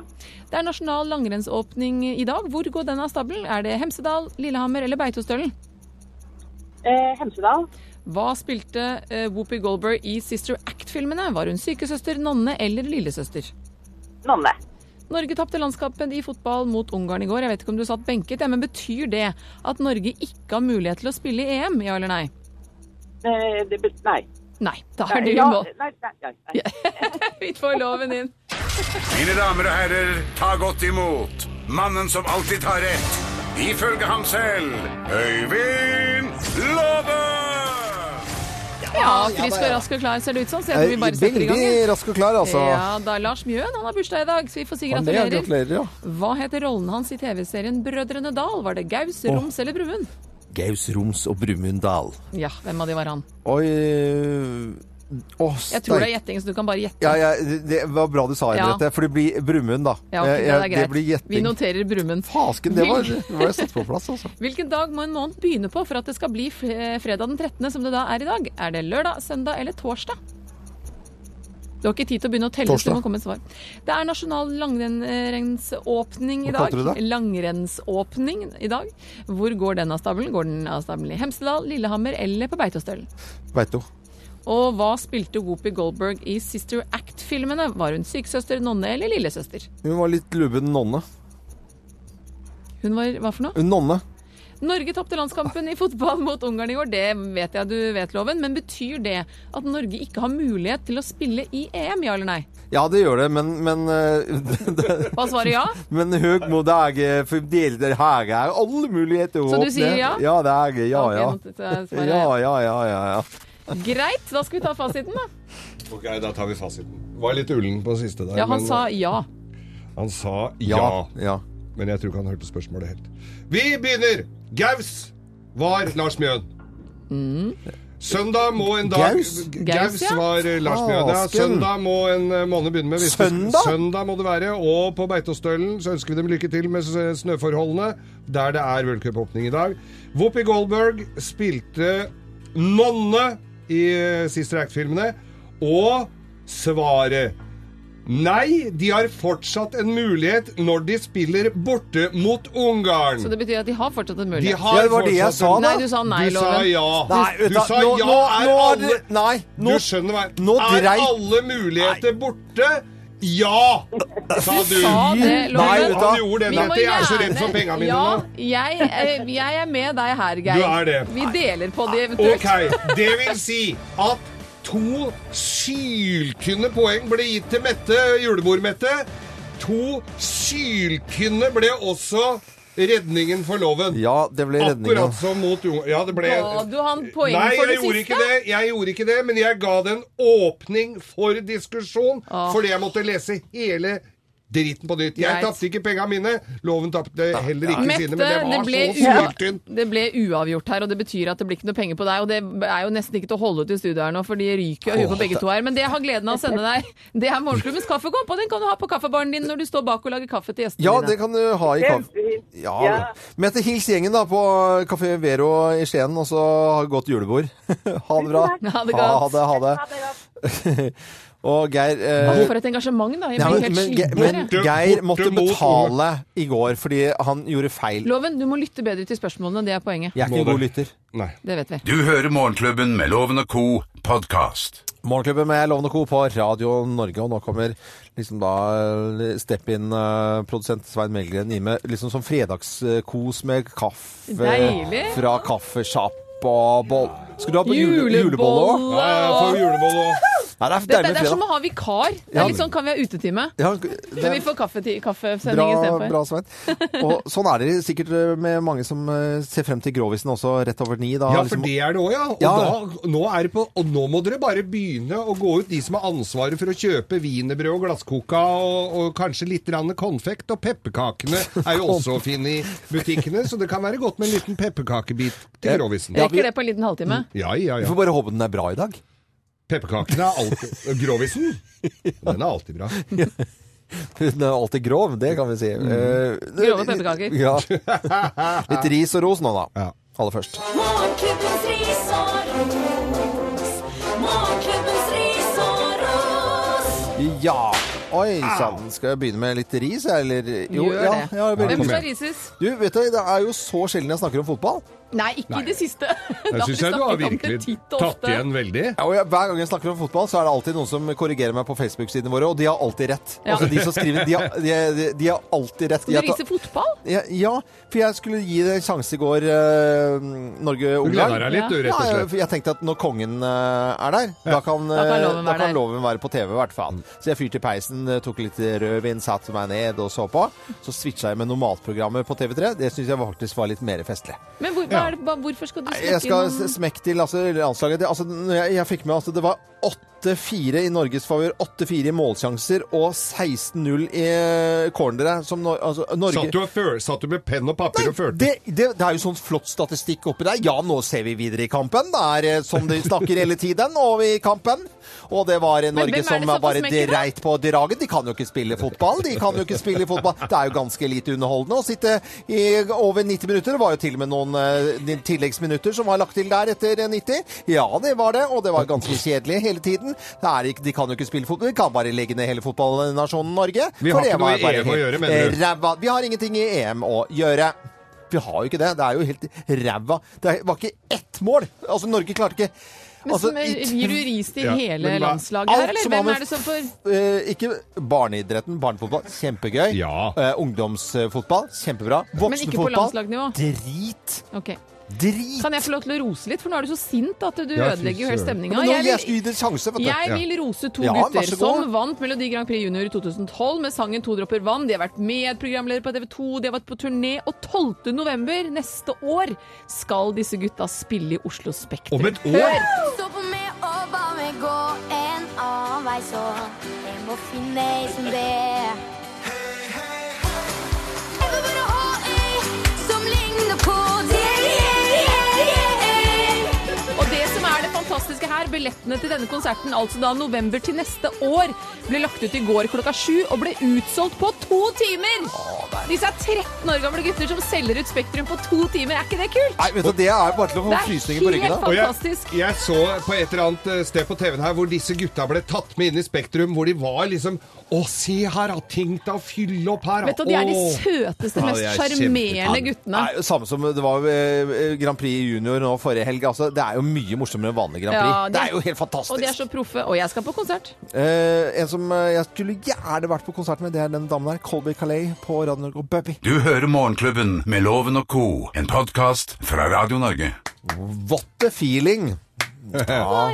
Speaker 4: Det er nasjonal langrennsåpning i dag. Hvor går den av stabelen? Er det Hemsedal, Lillehammer eller Beitostølen?
Speaker 12: Eh, Hemsedal.
Speaker 4: Hva spilte eh, Whoopi Goldberg i Sister Act-filmene? Var hun sykesøster, nonne eller lillesøster?
Speaker 12: Nonne.
Speaker 4: Norge tapte landskampen i fotball mot Ungarn i går. Jeg vet ikke om du satt benket, ja, men betyr det at Norge ikke har mulighet til å spille i EM, ja eller nei?
Speaker 12: Eh, det be nei.
Speaker 4: Nei, da
Speaker 12: Nei,
Speaker 4: er du i
Speaker 12: ja,
Speaker 4: mål.
Speaker 12: Nei, nei, nei. nei.
Speaker 4: Vi får loven inn.
Speaker 2: Mine damer og herrer, ta godt imot mannen som alltid tar rett. Ifølge ham selv Øyvind Låve!
Speaker 4: Ja, frisk og rask og klar ser det ut som. Så jeg tror vi bare setter i gang.
Speaker 3: Eh, Veldig
Speaker 4: ja.
Speaker 3: rask og klar, altså.
Speaker 4: Ja, da Lars Mjøen han har bursdag i dag, så vi får si
Speaker 3: Han det, ja,
Speaker 4: gratulerer.
Speaker 3: gratulerer, ja.
Speaker 4: Hva heter rollen hans i TV-serien Brødrene Dal? Var det Gaus,
Speaker 3: Åh.
Speaker 4: Roms eller Bruen?
Speaker 3: Gaus, Roms og Brumunddal.
Speaker 4: Ja, hvem av de var han?
Speaker 3: Oi øh, Å,
Speaker 4: Jeg tror det er
Speaker 3: steik.
Speaker 4: gjetting, så du kan bare gjette.
Speaker 3: Ja, ja, det var bra du sa det,
Speaker 4: Ja.
Speaker 3: Henriette, for det blir Brumund, da.
Speaker 4: Ja, ok, det
Speaker 3: Jeg- jeg-
Speaker 4: er greit.
Speaker 3: Eh, blir
Speaker 4: Vi
Speaker 3: gjetting.
Speaker 4: noterer Brumund.
Speaker 3: Fasken, det var, det var jeg satt på plass, altså.
Speaker 4: Hvilken dag må en måned begynne på for at det skal bli f- eh, fredag den 13., som det da er i dag? Er det lørdag, søndag eller torsdag? Du har ikke tid til å begynne å telle, så
Speaker 3: Torsdag.
Speaker 4: du må komme med svar. Det er nasjonal langrennsåpning i
Speaker 3: Hva
Speaker 4: dag.
Speaker 3: kalte du det?
Speaker 4: Langrennsåpning i dag. Hvor går den av stabelen? Går den av stabelen i Hemsedal, Lillehammer eller på Beitostølen?
Speaker 3: Veit du.
Speaker 4: Og hva spilte Whoopi Goldberg i Sister Act-filmene? Var hun sykesøster, nonne eller lillesøster?
Speaker 3: Hun var litt lubben nonne.
Speaker 4: Hun var hva for noe?
Speaker 3: Hun Nonne.
Speaker 4: Norge tapte landskampen i fotball mot Ungarn i går, det vet jeg du vet, Loven. Men betyr det at Norge ikke har mulighet til å spille i EM, ja eller nei?
Speaker 3: Ja, det gjør det, men, men eh,
Speaker 4: Hva svarer ja?
Speaker 3: Men Høgmo, det er ikke- for det det her er alle muligheter å
Speaker 4: Så du
Speaker 3: åpne.
Speaker 4: sier ja?
Speaker 3: Ja, det er ikke- ja,
Speaker 4: Ok,
Speaker 3: ja.
Speaker 4: nå tar jeg svaret.
Speaker 3: Ja, ja, ja, ja, ja.
Speaker 4: Greit, da skal vi ta fasiten, da.
Speaker 5: Ok, da tar vi fasiten. Var litt ullen på siste der.
Speaker 4: Ja, han
Speaker 5: men- eh,
Speaker 4: sa ja.
Speaker 5: Han sa ja.
Speaker 3: Ja,
Speaker 5: Men jeg tror ikke han hørte spørsmålet helt. Vi begynner! Gaus var Lars Mjøen. Søndag må en dag
Speaker 3: Mm. Gaus?
Speaker 5: Gaus
Speaker 3: Gaus, ja.
Speaker 5: var eh, Lars Mjøen. Ja,
Speaker 3: Fasken.
Speaker 5: søndag må en eh, måned begynne med. hvis det-
Speaker 3: Søndag?
Speaker 5: Søndag må det være. Og på Beitostølen så ønsker vi dem lykke til med s- snøforholdene, der det er worldcupåpning i dag. Whoopi Goldberg spilte nonne i eh, Sister Act-filmene. Og svaret Nei, de har fortsatt en mulighet når de spiller borte mot Ungarn.
Speaker 4: Så det betyr at de har fortsatt en mulighet.
Speaker 5: De har Ja, det var det jeg fortsatt- sa, da.
Speaker 4: Nei, du sa nei,
Speaker 5: Du sa
Speaker 4: Loven.
Speaker 5: ja.
Speaker 4: Du-
Speaker 5: Nei,
Speaker 3: vet
Speaker 5: Du sa
Speaker 3: nå-
Speaker 5: ja,
Speaker 3: nå-
Speaker 5: er
Speaker 3: nå
Speaker 5: alle-
Speaker 3: det- Nei, nå,
Speaker 5: du skjønner hva jeg-
Speaker 3: nå
Speaker 5: Er
Speaker 3: dreit-
Speaker 5: alle muligheter borte? Ja! Sa du.
Speaker 4: Sa det, Loven.
Speaker 5: Nei, vet du hva? han gjorde det.
Speaker 4: Vi må
Speaker 5: Mette. Jeg er så redd
Speaker 4: gjerne-
Speaker 5: for pengene mine
Speaker 4: ja,
Speaker 5: nå.
Speaker 4: Jeg, eh, jeg er med deg her, Geir.
Speaker 5: Du er det. Ah,
Speaker 4: Vi deler på det eventuelt.
Speaker 5: Ok, det vil si at to syltynne poeng ble gitt til Mette, julebord-Mette. To syltynne ble også redningen for loven.
Speaker 3: Ja, det ble redninga.
Speaker 5: Akkurat som mot Jon... Ja, det ble
Speaker 4: Ga du han poeng
Speaker 5: Nei,
Speaker 4: for det
Speaker 5: jeg gjorde
Speaker 4: siste?
Speaker 5: ikke det. Jeg gjorde ikke det, men jeg ga det en åpning for diskusjon fordi jeg måtte lese hele dritten på nytt.
Speaker 4: Greit.
Speaker 5: Jeg tapte ikke penga mine. Loven tapte heller ikke
Speaker 4: Mette,
Speaker 5: sine, men det var
Speaker 4: ble
Speaker 5: så syltynt.
Speaker 4: ua- det ble uavgjort her, og det betyr at det blir ikke noe penger på deg. Og det er jo nesten ikke til å holde ut i studio her nå, for de ryker jo huet på
Speaker 13: Åh,
Speaker 4: begge
Speaker 13: det-
Speaker 4: to her. Men det jeg har gleden av å sende deg, det er morgenklubbens kaffekopp, og den kan du ha på kaffebaren din når du står bak og lager kaffe til gjestene
Speaker 3: Ja,
Speaker 4: dine.
Speaker 3: det kan du ha i kaffe.
Speaker 4: Kjempefint.
Speaker 3: Ja,
Speaker 4: Ja.
Speaker 3: ja. Mette, hils gjengen da på Café Vero i Skien, og så ha godt julebord. ha det bra.
Speaker 4: takk. Ha det
Speaker 3: Ha
Speaker 4: godt.
Speaker 3: det, ha det. og Geir eh,
Speaker 4: Ja, For et engasjement, da. Jeg
Speaker 3: ja,
Speaker 4: blir
Speaker 3: men,
Speaker 4: helt
Speaker 3: men, Ge-
Speaker 4: sliten her,
Speaker 3: men
Speaker 4: jeg.
Speaker 3: Geir måtte
Speaker 5: borte mot
Speaker 3: betale i går fordi han gjorde feil.
Speaker 4: Loven, du må lytte bedre til spørsmålene, det er poenget.
Speaker 3: Jeg er ikke en god lytter.
Speaker 4: Det vet vi.
Speaker 2: Du hører Morgenklubben med Loven og Co. podkast.
Speaker 3: Morgenklubben med Loven og Co. på Radio Norge, og nå kommer liksom da eh, step-in-produsent Svein Melgren inn med liksom som fredagskos med kaffe
Speaker 5: Deilig.
Speaker 3: fra kaffesjapp og boll. Skal du ha på jule,
Speaker 4: Julebolle
Speaker 3: julebolle òg?
Speaker 4: og- Ja, jeg får
Speaker 5: julebolle òg.
Speaker 3: Nei, det er
Speaker 4: Dette,
Speaker 3: deilig
Speaker 4: det er som
Speaker 3: fredag.
Speaker 4: å ha vikar. Det
Speaker 3: Ja.
Speaker 4: er litt sånn kan vi ha utetime.
Speaker 3: Ja,
Speaker 4: Men vi får kaffeti-
Speaker 3: bra,
Speaker 4: kaffesending
Speaker 3: bra,
Speaker 4: istedenfor.
Speaker 3: Svein. Og sånn er det sikkert med mange som eh, ser frem til Grovisen også, rett over ni. Da,
Speaker 5: Ja, for
Speaker 3: liksom-
Speaker 5: det er det òg, ja. Og,
Speaker 3: Ja.
Speaker 5: Da, nå er det på, og nå må dere bare begynne å gå ut, de som har ansvaret for å kjøpe wienerbrød og glasskoka og, og kanskje litt grann konfekt. Og pepperkakene er jo også å finne i butikkene, så det kan være godt med en liten pepperkakebit til grovisen.
Speaker 4: Rekker det på en liten halvtime?
Speaker 5: Ja, ja, ja.
Speaker 3: Vi får bare håpe den er bra i dag.
Speaker 5: Pepperkakene er alltid Grovisen? Den er alltid bra.
Speaker 3: Den er alltid grov, det kan vi si. Eh,
Speaker 4: Grove pepperkaker.
Speaker 3: Ja. Litt ris og ros nå, da. Aller først.
Speaker 1: Morgenklubbens ris og ros. Morgenklubbens ris og ros.
Speaker 3: Ja. Oi sann. Skal jeg begynne med litt ris, jeg, eller?
Speaker 4: Gjør
Speaker 3: ja,
Speaker 4: det.
Speaker 3: ja, jeg begynner
Speaker 4: Hvem
Speaker 3: med-
Speaker 4: skal rises?
Speaker 3: Du, vet du, det er jo så sjelden jeg snakker om fotball.
Speaker 4: Nei, ikke i det siste. Da
Speaker 5: synes
Speaker 4: vi
Speaker 5: jeg du har
Speaker 4: snakket om det
Speaker 5: virkelig
Speaker 4: titt og ofte.
Speaker 5: tatt igjen veldig.
Speaker 3: Ja, og jeg, hver gang jeg snakker om fotball, så er det alltid noen som korrigerer meg på Facebook-sidene våre, og de har alltid rett.
Speaker 4: Ja.
Speaker 3: Altså, de som skriver, de har, de, de, de har alltid rett.
Speaker 4: Skal du rise fotball?
Speaker 3: Ja, ja, for jeg skulle gi det en sjanse i går, eh, Norge-Ungarn.
Speaker 5: Du gleder deg litt, du, rett og
Speaker 3: Ja,
Speaker 5: slett.
Speaker 3: for jeg tenkte at når kongen eh, er der, da kan,
Speaker 5: Da kan
Speaker 3: eh,
Speaker 5: loven
Speaker 3: da
Speaker 5: være
Speaker 3: kan
Speaker 5: der.
Speaker 3: loven være på TV, i hvert fall. Så jeg fyrte i peisen, eh, tok litt rødvin, satte meg ned og så på. Så switcha jeg med normalprogrammet på TV3. Det syns jeg faktisk var litt mer festlig.
Speaker 4: Men hvor, hva er det, hva- hvorfor skal du
Speaker 3: Jeg
Speaker 4: snakke
Speaker 3: skal
Speaker 4: innom
Speaker 3: smekke til altså, landslaget. Det- Altså, når jeg, jeg fikk med at altså, det var 8-4 i Norges favør, 8-4 i målsjanser og 16-0 i eh, cornere. Som Nor altså, Norge
Speaker 5: Satt du, og før, satt du med penn og papir og førte?
Speaker 3: det, det, det er jo sånn flott statistikk oppi der. Ja, nå ser vi videre i kampen. Det er eh, som de snakker hele tiden, og i kampen. Og det var eh,
Speaker 5: Men hvem
Speaker 3: Norge
Speaker 5: er
Speaker 3: som
Speaker 5: det som
Speaker 3: bare
Speaker 5: får smekken, da?
Speaker 3: dreit på draget. De kan jo ikke spille fotball. De kan jo ikke spille fotball. Det er jo ganske lite underholdende å sitte i over 90 minutter. Det var jo til og med noen eh, tilleggsminutter som var lagt til der etter eh, 90. Ja, det var det, og det var ganske kjedelig hele tiden. Det er, ikke- de kan jo ikke spille fotball. Vi kan bare legge ned hele fotballnasjonen Norge.
Speaker 5: Vi har
Speaker 3: For det
Speaker 5: ikke noe
Speaker 3: var
Speaker 5: i
Speaker 3: bare
Speaker 5: EM å
Speaker 3: helt
Speaker 5: gjøre, mener du?
Speaker 3: Ræva. Vi har ingenting i EM å gjøre. Vi har jo ikke det. Det er jo helt ræva. Det var ikke ett mål. Altså, Norge klarte ikke altså,
Speaker 4: Men som er-
Speaker 3: i tr-
Speaker 4: gir du ris til
Speaker 3: Ja.
Speaker 4: hele
Speaker 3: Men hva-
Speaker 4: landslaget
Speaker 3: alt
Speaker 4: her, eller?
Speaker 3: som har
Speaker 4: Hvem
Speaker 3: med
Speaker 4: er det som får
Speaker 3: Eh, ikke barneidretten, barnefotball. Kjempegøy. Eh, ungdomsfotball. Kjempebra.
Speaker 4: Men ikke på
Speaker 3: Voksenfotball.
Speaker 4: landslagsnivå?
Speaker 3: Drit.
Speaker 4: Ok.
Speaker 3: Drit.
Speaker 4: Kan jeg få lov til å rose litt, for nå er du så sint at du
Speaker 3: Ja, fy
Speaker 4: ødelegger jo hele
Speaker 3: søren.
Speaker 4: stemninga.
Speaker 3: Men nå jeg skulle gi det en sjanse, vet du.
Speaker 4: Jeg
Speaker 3: Ja.
Speaker 4: vil rose to
Speaker 3: Ja, vær
Speaker 4: gutter
Speaker 3: så god.
Speaker 4: som vant Melodi Grand Prix Junior i 2012 med sangen 'To dråper vann'. De har vært medprogramledere på TV 2, de har vært på turné, og 12. november neste år skal disse gutta spille i Oslo Spektrum.
Speaker 5: Om et
Speaker 4: Hør!
Speaker 14: Stå på meg og ba meg gå en annen vei, så jeg må finne ei som det. Jeg vil bare ha ei som ligner på deg.
Speaker 4: Og det som er det fantastiske her, billettene til denne konserten, altså da november til neste år, ble lagt ut i går klokka sju og ble utsolgt på to timer! Disse er 13 år gamle gutter som selger ut Spektrum på to timer, er ikke det kult?
Speaker 3: Nei, vet du, Det er bare til å
Speaker 4: Det
Speaker 3: få
Speaker 4: er
Speaker 3: frysninger på ryggen.
Speaker 4: helt
Speaker 3: da.
Speaker 5: Og jeg,
Speaker 4: fantastisk.
Speaker 5: jeg så på et eller annet eh, sted på TV-en her hvor disse gutta ble tatt med inn i Spektrum, hvor de var liksom Å, se her, har tenkt å fylle opp her.
Speaker 4: Vet du, De er de
Speaker 5: Åh.
Speaker 4: søteste,
Speaker 3: Ja,
Speaker 4: mest
Speaker 3: de er
Speaker 4: sjarmerende
Speaker 3: kjempe-
Speaker 4: guttene.
Speaker 3: Nei, samme som det var eh, Grand Prix junior nå forrige helg. Altså, det er jo mye morsommere enn vanlig Grand Prix.
Speaker 4: Ja,
Speaker 3: det er jo helt fantastisk.
Speaker 4: Og de er så proffe. Og jeg skal på konsert.
Speaker 3: Eh, en som eh, jeg skulle gjerne vært på konsert med, det er den damen der. Colby Calais på Radio Norge og Bubby.
Speaker 2: Du hører Morgenklubben med Loven og Co., en podkast fra Radio Norge.
Speaker 3: What the feeling? Ja.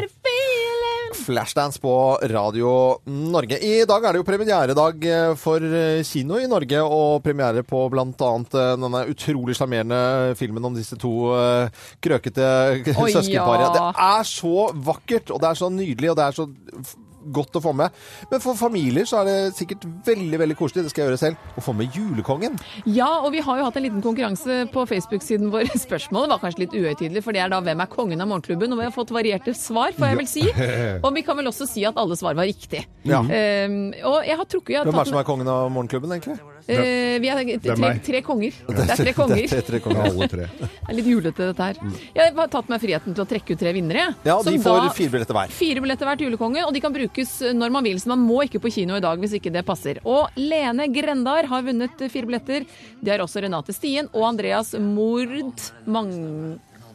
Speaker 3: Flashdance på Radio Norge. I dag er det jo premieredag eh, for eh, kino i Norge, og premiere på bl.a. denne utrolig sjarmerende filmen om disse to eh, krøkete
Speaker 5: Oi,
Speaker 3: søskenparet.
Speaker 5: ja.
Speaker 3: Det er så vakkert, og det er så nydelig, og det er så f- godt å få med. Men for familier så er det sikkert veldig veldig koselig, det skal jeg gjøre selv, å få med julekongen.
Speaker 4: Ja, og vi har jo hatt en liten konkurranse på Facebook-siden vår. Spørsmålet var kanskje litt uhøytidelig, for det er da 'Hvem er kongen av morgenklubben?' Og vi har fått varierte svar, får jeg vel si. Og vi kan vel også si at alle svar var riktig.
Speaker 3: Ja.
Speaker 4: Ehm, og jeg har trukket jeg har
Speaker 3: Hvem er
Speaker 4: tatt
Speaker 3: det som er kongen av morgenklubben, egentlig?
Speaker 4: Eh, vi er
Speaker 3: Det er
Speaker 4: tre,
Speaker 3: meg.
Speaker 4: tre konger. Det er tre konger.
Speaker 3: Det er tre konger.
Speaker 4: Det er litt julete, dette her. Jeg har tatt meg friheten til å trekke ut tre vinnere.
Speaker 3: Ja, de
Speaker 4: som
Speaker 3: får
Speaker 4: da-
Speaker 3: fire billetter hver.
Speaker 4: Fire billetter hver til Julekongen, og de kan brukes når man vil. Så man må ikke på kino i dag hvis ikke det passer. Og Lene Grendar har vunnet fire billetter. Det har også Renate Stien og Andreas Mord Mang...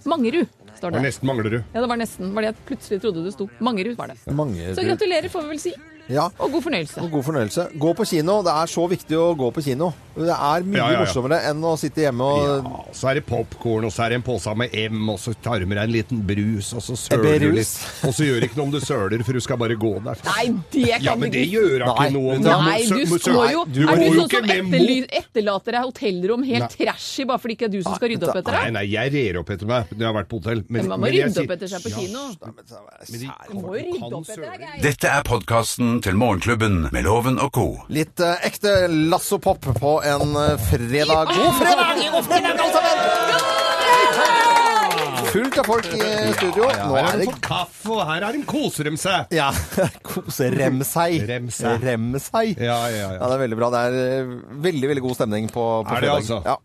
Speaker 4: Mangerud, står det.
Speaker 5: Og nesten mangler du.
Speaker 4: Ja, det var nesten. Var det jeg plutselig trodde det sto Mangerud, var det.
Speaker 3: Mange
Speaker 4: Så gratulerer, får vi vel si.
Speaker 3: Ja.
Speaker 4: Og god fornøyelse.
Speaker 3: Og god fornøyelse. Gå på kino. Det er så viktig å gå på kino. Det er mye
Speaker 5: Ja, ja, ja.
Speaker 3: morsommere enn å sitte hjemme og
Speaker 5: Ja, så er det popkorn, og så er det en pose med M, og så tar du med deg en liten brus, og så søler du
Speaker 3: Brus?
Speaker 5: litt. Og så gjør det ikke noe om du søler, for du skal bare gå der.
Speaker 4: Nei, det kan
Speaker 5: Ja, men
Speaker 4: du
Speaker 5: det gjør da ikke
Speaker 4: Nei,
Speaker 5: noe
Speaker 4: Nei,
Speaker 5: om må
Speaker 4: du
Speaker 5: sø- må sø-
Speaker 4: står jo
Speaker 5: Du
Speaker 4: Er
Speaker 5: må
Speaker 4: du
Speaker 5: jo
Speaker 4: sånn
Speaker 5: ikke
Speaker 4: som
Speaker 5: med mot.
Speaker 4: etterly, etterlater deg hotellrom helt trashy bare fordi ikke det er du som skal rydde opp etter
Speaker 5: Nei,
Speaker 4: deg?
Speaker 5: nei, jeg rer opp etter meg når jeg har vært på hotell.
Speaker 4: Men man må rydde opp etter seg på kino.
Speaker 5: Du
Speaker 4: må jo rydde opp etter deg.
Speaker 2: Dette er podkasten til Morgenklubben med Loven og co.
Speaker 3: Litt eh, ekte lassopop på en eh, fredag. God fredag! God fredag, alle sammen! Fullt av folk i studio. Nå
Speaker 5: her
Speaker 3: er
Speaker 5: har de
Speaker 3: det
Speaker 5: fått kaffe, og her har de koser dem seg.
Speaker 3: Ja, koser rem seg.
Speaker 5: Rem seg.
Speaker 3: Rem seg.
Speaker 5: Ja, ja,
Speaker 3: Ja, det er veldig bra. Det er eh, veldig, veldig god stemning på, på
Speaker 5: Er det
Speaker 3: fredag.
Speaker 5: altså?
Speaker 3: Ja.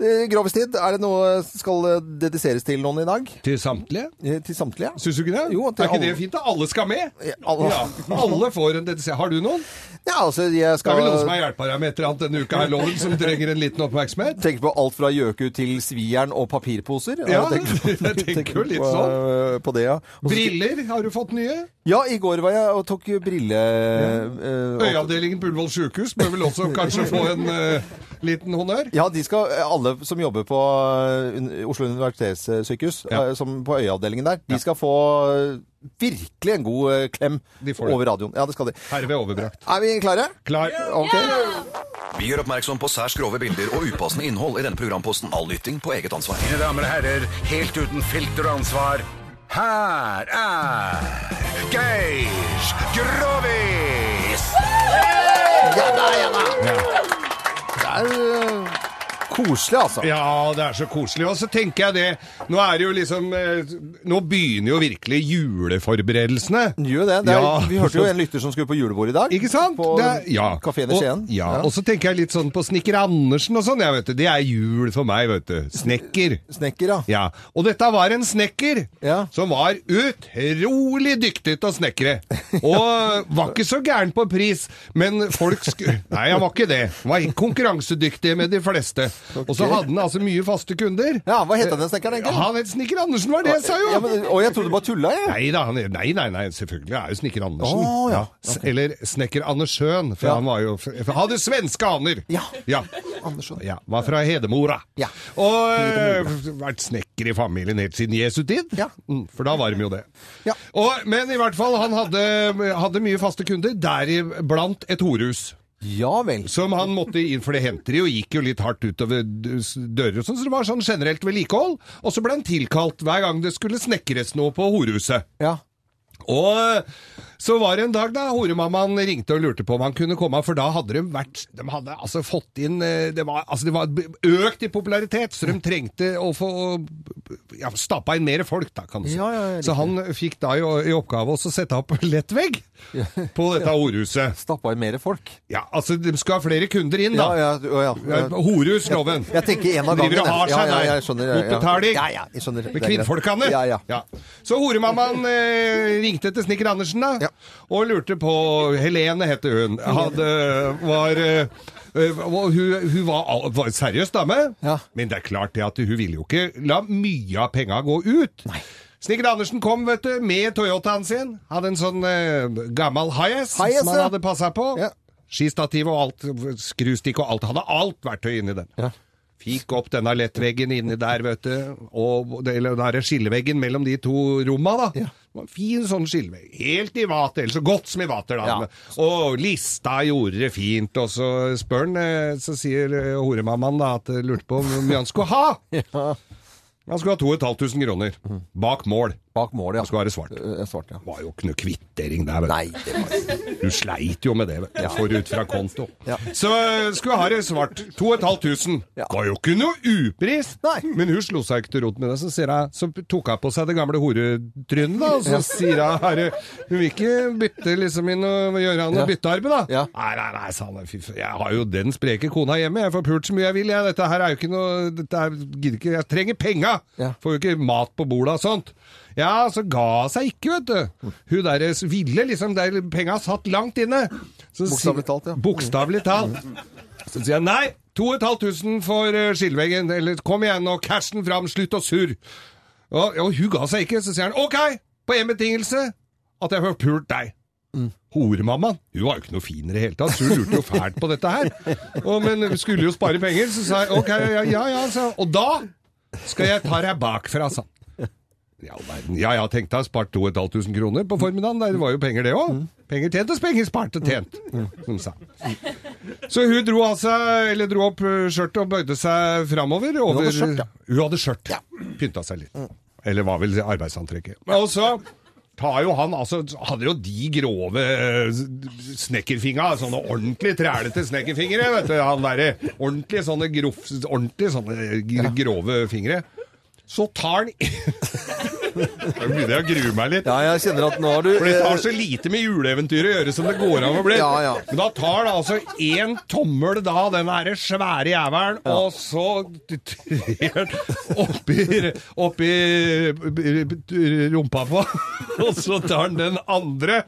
Speaker 3: Eh, Grovestid, er det noe som skal eh, dediseres til noen i dag? Eh,
Speaker 5: Til samtlige?
Speaker 3: Til samtlige.
Speaker 5: Syns du ikke det?
Speaker 3: Jo, til
Speaker 5: er ikke det
Speaker 3: alle.
Speaker 5: fint? da? Alle skal med!
Speaker 3: alle.
Speaker 5: Ja, alle får en DTC. Har du noen?
Speaker 3: Ja, altså, jeg
Speaker 5: Det
Speaker 3: skal
Speaker 5: er vel noen som har hjulpet deg med et eller annet denne uka her, Loven, som trenger en liten oppmerksomhet?
Speaker 3: Tenk på alt fra gjøku til svieren og papirposer.
Speaker 5: Ja,
Speaker 3: tenk
Speaker 5: jeg tenker jo litt
Speaker 3: på, eh,
Speaker 5: sånn.
Speaker 3: På det, ja. Og så-
Speaker 5: Briller, har du fått nye?
Speaker 3: Ja, i går var jeg og tok jo brille... eh, og-
Speaker 5: Øyeavdelingen på Ullevål sjukehus bør vel også kanskje få en eh, liten honnør?
Speaker 3: Ja, de skal, eh, alle som jobber på eh, un- Oslo universitetssykehus, eh, som på øyeavdelingen der, de skal få eh, virkelig en god eh, klem
Speaker 5: det.
Speaker 3: over radioen. Ja, det skal de.
Speaker 5: Herved overbrakt.
Speaker 3: Er vi klare?
Speaker 5: Klar.
Speaker 3: Ok.
Speaker 7: Vi gjør oppmerksom på særs grove bilder og upassende innhold i denne programposten. All lytting på eget ansvar.
Speaker 2: Mine damer og herrer, helt uten filter og ansvar, her er Geir Grovis!
Speaker 3: Ja da, ja da! Det er eh, koselig, altså.
Speaker 5: Ja, det er så koselig. Og så tenker jeg det Nå er det jo liksom eh, Nå begynner jo virkelig juleforberedelsene.
Speaker 3: Gjør det. det er,
Speaker 5: Ja.
Speaker 3: Vi hørte jo en lytter som skulle på julebord i dag.
Speaker 5: Ikke sant?
Speaker 3: På
Speaker 5: Det er- ja.
Speaker 3: kafeen i Skien.
Speaker 5: Og, ja. og så tenker jeg litt sånn på Snekker Andersen og sånn. Jeg vet du, Det er jul for meg, vet du. Snekker.
Speaker 3: Snekker, ja.
Speaker 5: Og dette var en snekker som var utrolig dyktig til å snekre. Og var ikke så gæren på pris, men folk sku... Nei, han var ikke det. Han var konkurransedyktig med de fleste. Og så hadde han altså mye faste kunder.
Speaker 3: Ja, Hva het han den snekkeren, egentlig?
Speaker 5: Han het Snekker Andersen, var det jeg sa jo!
Speaker 3: Ja, men, og jeg trodde du bare tulla, jeg.
Speaker 5: Nei da, han, nei, nei, nei, selvfølgelig er jo snekker Andersen.
Speaker 3: Å, ja.
Speaker 5: S- Eller snekker Andersjøen, for han var jo for, for, hadde svenske aner. Ja. ja. Ja, var fra Hedemora. Og øh, vært snekker i familien helt siden Jesu tid. Mm, For da var de jo det. Og, men i hvert fall, han hadde, hadde mye faste kunder, deriblant et horehus.
Speaker 3: Ja vel.
Speaker 5: Som han måtte inn, for det hendte det jo, gikk jo litt hardt utover d- s- dører og sånn, så det var sånn generelt vedlikehold. Og så ble han tilkalt hver gang det skulle snekres noe på horehuset.
Speaker 3: Ja.
Speaker 5: Og eh, så var det en dag da horemammaen ringte og lurte på om han kunne komme, for da hadde de vært De hadde altså fått inn eh, Det var, altså det var b- økt i popularitet, så de trengte å få ja, stappa inn mer folk, da, kan du si.
Speaker 3: Ja, ja, ja, riktig.
Speaker 5: så han eh, fikk da i, i oppgave også å sette opp lettvegg på dette horhuset.
Speaker 3: Stappa inn mer folk?
Speaker 5: Ja, altså de skal ha flere kunder inn, da.
Speaker 3: Ja, ja, å, ja.
Speaker 5: Ja, Horhus, loven.
Speaker 3: Jeg tenker en av gangen.
Speaker 5: Driver og har
Speaker 3: jeg.
Speaker 5: seg
Speaker 3: ja,
Speaker 5: der.
Speaker 3: ja, jeg skjønner, ja, ja.
Speaker 5: Motbetaling.
Speaker 3: Ja, ja, jeg skjønner. Det
Speaker 5: Med
Speaker 3: er greit.
Speaker 5: kvinnfolkene.
Speaker 3: Ja, ja.
Speaker 5: Så horemammaen eh, ringte til snekker Andersen da, og lurte på Helene hette hun. Hadde, var, eh, eh, var- hun, hun var, al- var en seriøs dame, men det er klart det at hun ville jo ikke la mye av penga gå ut. Snekker Andersen kom vet du, med Toyotaen sin. Hadde en sånn eh, gammel Hiace
Speaker 3: Hiace,
Speaker 5: som han
Speaker 3: ja.
Speaker 5: hadde passa på. Skistativ og alt, skrustikk og alt. Hadde alt verktøy inni den. Fikk opp denne lettveggen inni der, vet du. Og, eller den derre skilleveggen mellom de to romma, da. Det var en Fin sånn skillevegg. Helt i vater, eller så godt som i vater, da. Og lista gjorde det fint, og så spør han, eh, så sier eh, horemammaen da at eh, lurte på hvor mye han skulle ha. Han skulle ha 2500 kroner. Bak mål.
Speaker 3: Bak målet, ja. Eh,
Speaker 5: Det skulle være svart.
Speaker 3: Det
Speaker 5: var jo ikke noe kvittering der, vet du. Du sleit jo med det, vet du.
Speaker 3: Ja.
Speaker 5: For ut fra konto.
Speaker 3: Ja.
Speaker 5: Så eh, skulle ha det svart. 2500. Var jo ikke noe upris! Men hun slo seg ikke til rot med det. Så, sier hun- så tok hun på seg det gamle horetrynet, da. Og så
Speaker 3: Ja.
Speaker 5: sier hun herre, hun vil ikke bytte liksom inn og gjøre han
Speaker 3: Ja.
Speaker 5: noe byttearbeid, da. Nei, nei, nei, sa han. Fy faen, jeg har jo den spreke kona hjemme. Jeg får pult så mye jeg vil. Jeg. Dette her er jo ikke noe dette her, gidder ikke. Jeg trenger penga! Får jo ikke mat på bordet og sånt. Ja, så ga hun seg ikke, vet du. Hun der ville liksom der penga satt langt inne. Så sier-
Speaker 3: Bokstavelig talt, ja.
Speaker 5: Bokstavelig talt. Så sier jeg nei, 2500 for eh, skilleveggen, eller kom igjen nå, cash den fram, slutt å surr. Og, og hun ga seg ikke, så sier han ok, på én betingelse, at jeg får pult deg.
Speaker 3: Mm.
Speaker 5: Horemammaen, hun var jo ikke noe fin i det hele tatt, så hun lurte jo fælt på dette her. Og, men hun skulle jo spare penger, så sa jeg ok, ja, ja, ja, sa jeg. Og da skal jeg ta deg bakfra, sa han. I all verden. Ja, ja, tenkte jeg spart 2500 kroner på formiddagen. der. Det var jo penger, det òg. Penger tjent og penger spart og tjent, som sa. Så hun dro, av seg, eller dro opp eh, skjørtet og bøyde seg framover.
Speaker 3: Hun hadde
Speaker 5: over-
Speaker 3: skjørt, ja. Mm.
Speaker 5: Hun hadde skjørt. Pynta seg litt. Eller var vel arbeidsantrekket. Og så tar jo han, altså, hadde jo de grove eh, snekkerfinga, sånne ordentlig trælete snekkerfingre, vet du, han derre. Ordentlig sånne, grof, ordentlig sånne gr- grove fingre. Så tar han Nå begynner jeg å grue meg litt.
Speaker 3: Ja, jeg kjenner at nå har du eh,
Speaker 5: For det tar så lite med juleeventyret å gjøre som det går an å bli.
Speaker 3: Ja, ja.
Speaker 5: Men da tar det altså én tommel, da, den herre svære jævelen, og så trer den oppi, oppi rumpa på, og så tar han den andre,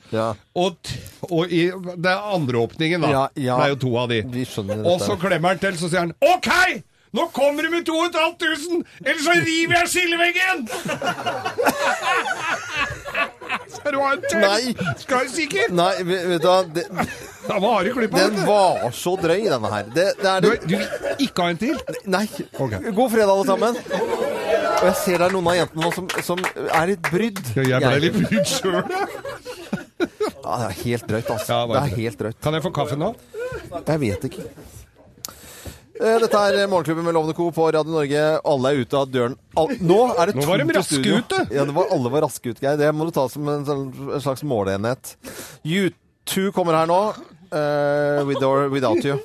Speaker 5: og, t- og i, det er andre åpningen, da.
Speaker 3: Ja, ja.
Speaker 5: Det er jo to av de. Og så klemmer han til, så sier han OK! Nå kommer du med 2500, ellers så river jeg skilleveggen! Skal du ha en til?
Speaker 3: Nei.
Speaker 5: Skal du sikkert?
Speaker 3: Nei, vet vet du hva det,
Speaker 5: Den var hard i klippa,
Speaker 3: Den
Speaker 5: vet du.
Speaker 3: var så drøy, denne her. Det, det er det.
Speaker 5: Du, vil ikke ha en til?
Speaker 3: Nei. God fredag, alle sammen. Og jeg ser det er noen av jentene nå som, som er litt brydd.
Speaker 5: jeg ble litt brydd sjøl,
Speaker 3: Ja, det er helt drøyt, altså.
Speaker 5: Ja,
Speaker 3: det er
Speaker 5: var det.
Speaker 3: helt drøyt.
Speaker 5: Kan jeg få kaffe nå?
Speaker 3: Jeg vet ikke. Eh, Dette er Morgenklubben med Lovende Co. på Radio Norge. Alle er ute av døren. Al Nå er det
Speaker 5: Nå var de
Speaker 3: tomt i
Speaker 5: raske
Speaker 3: studio.
Speaker 5: ute.
Speaker 3: Ja, det var, alle var raske ut, Geir. Det må du ta som en sånn- en slags måleenhet. U2 kommer her nå. eh, with or without you.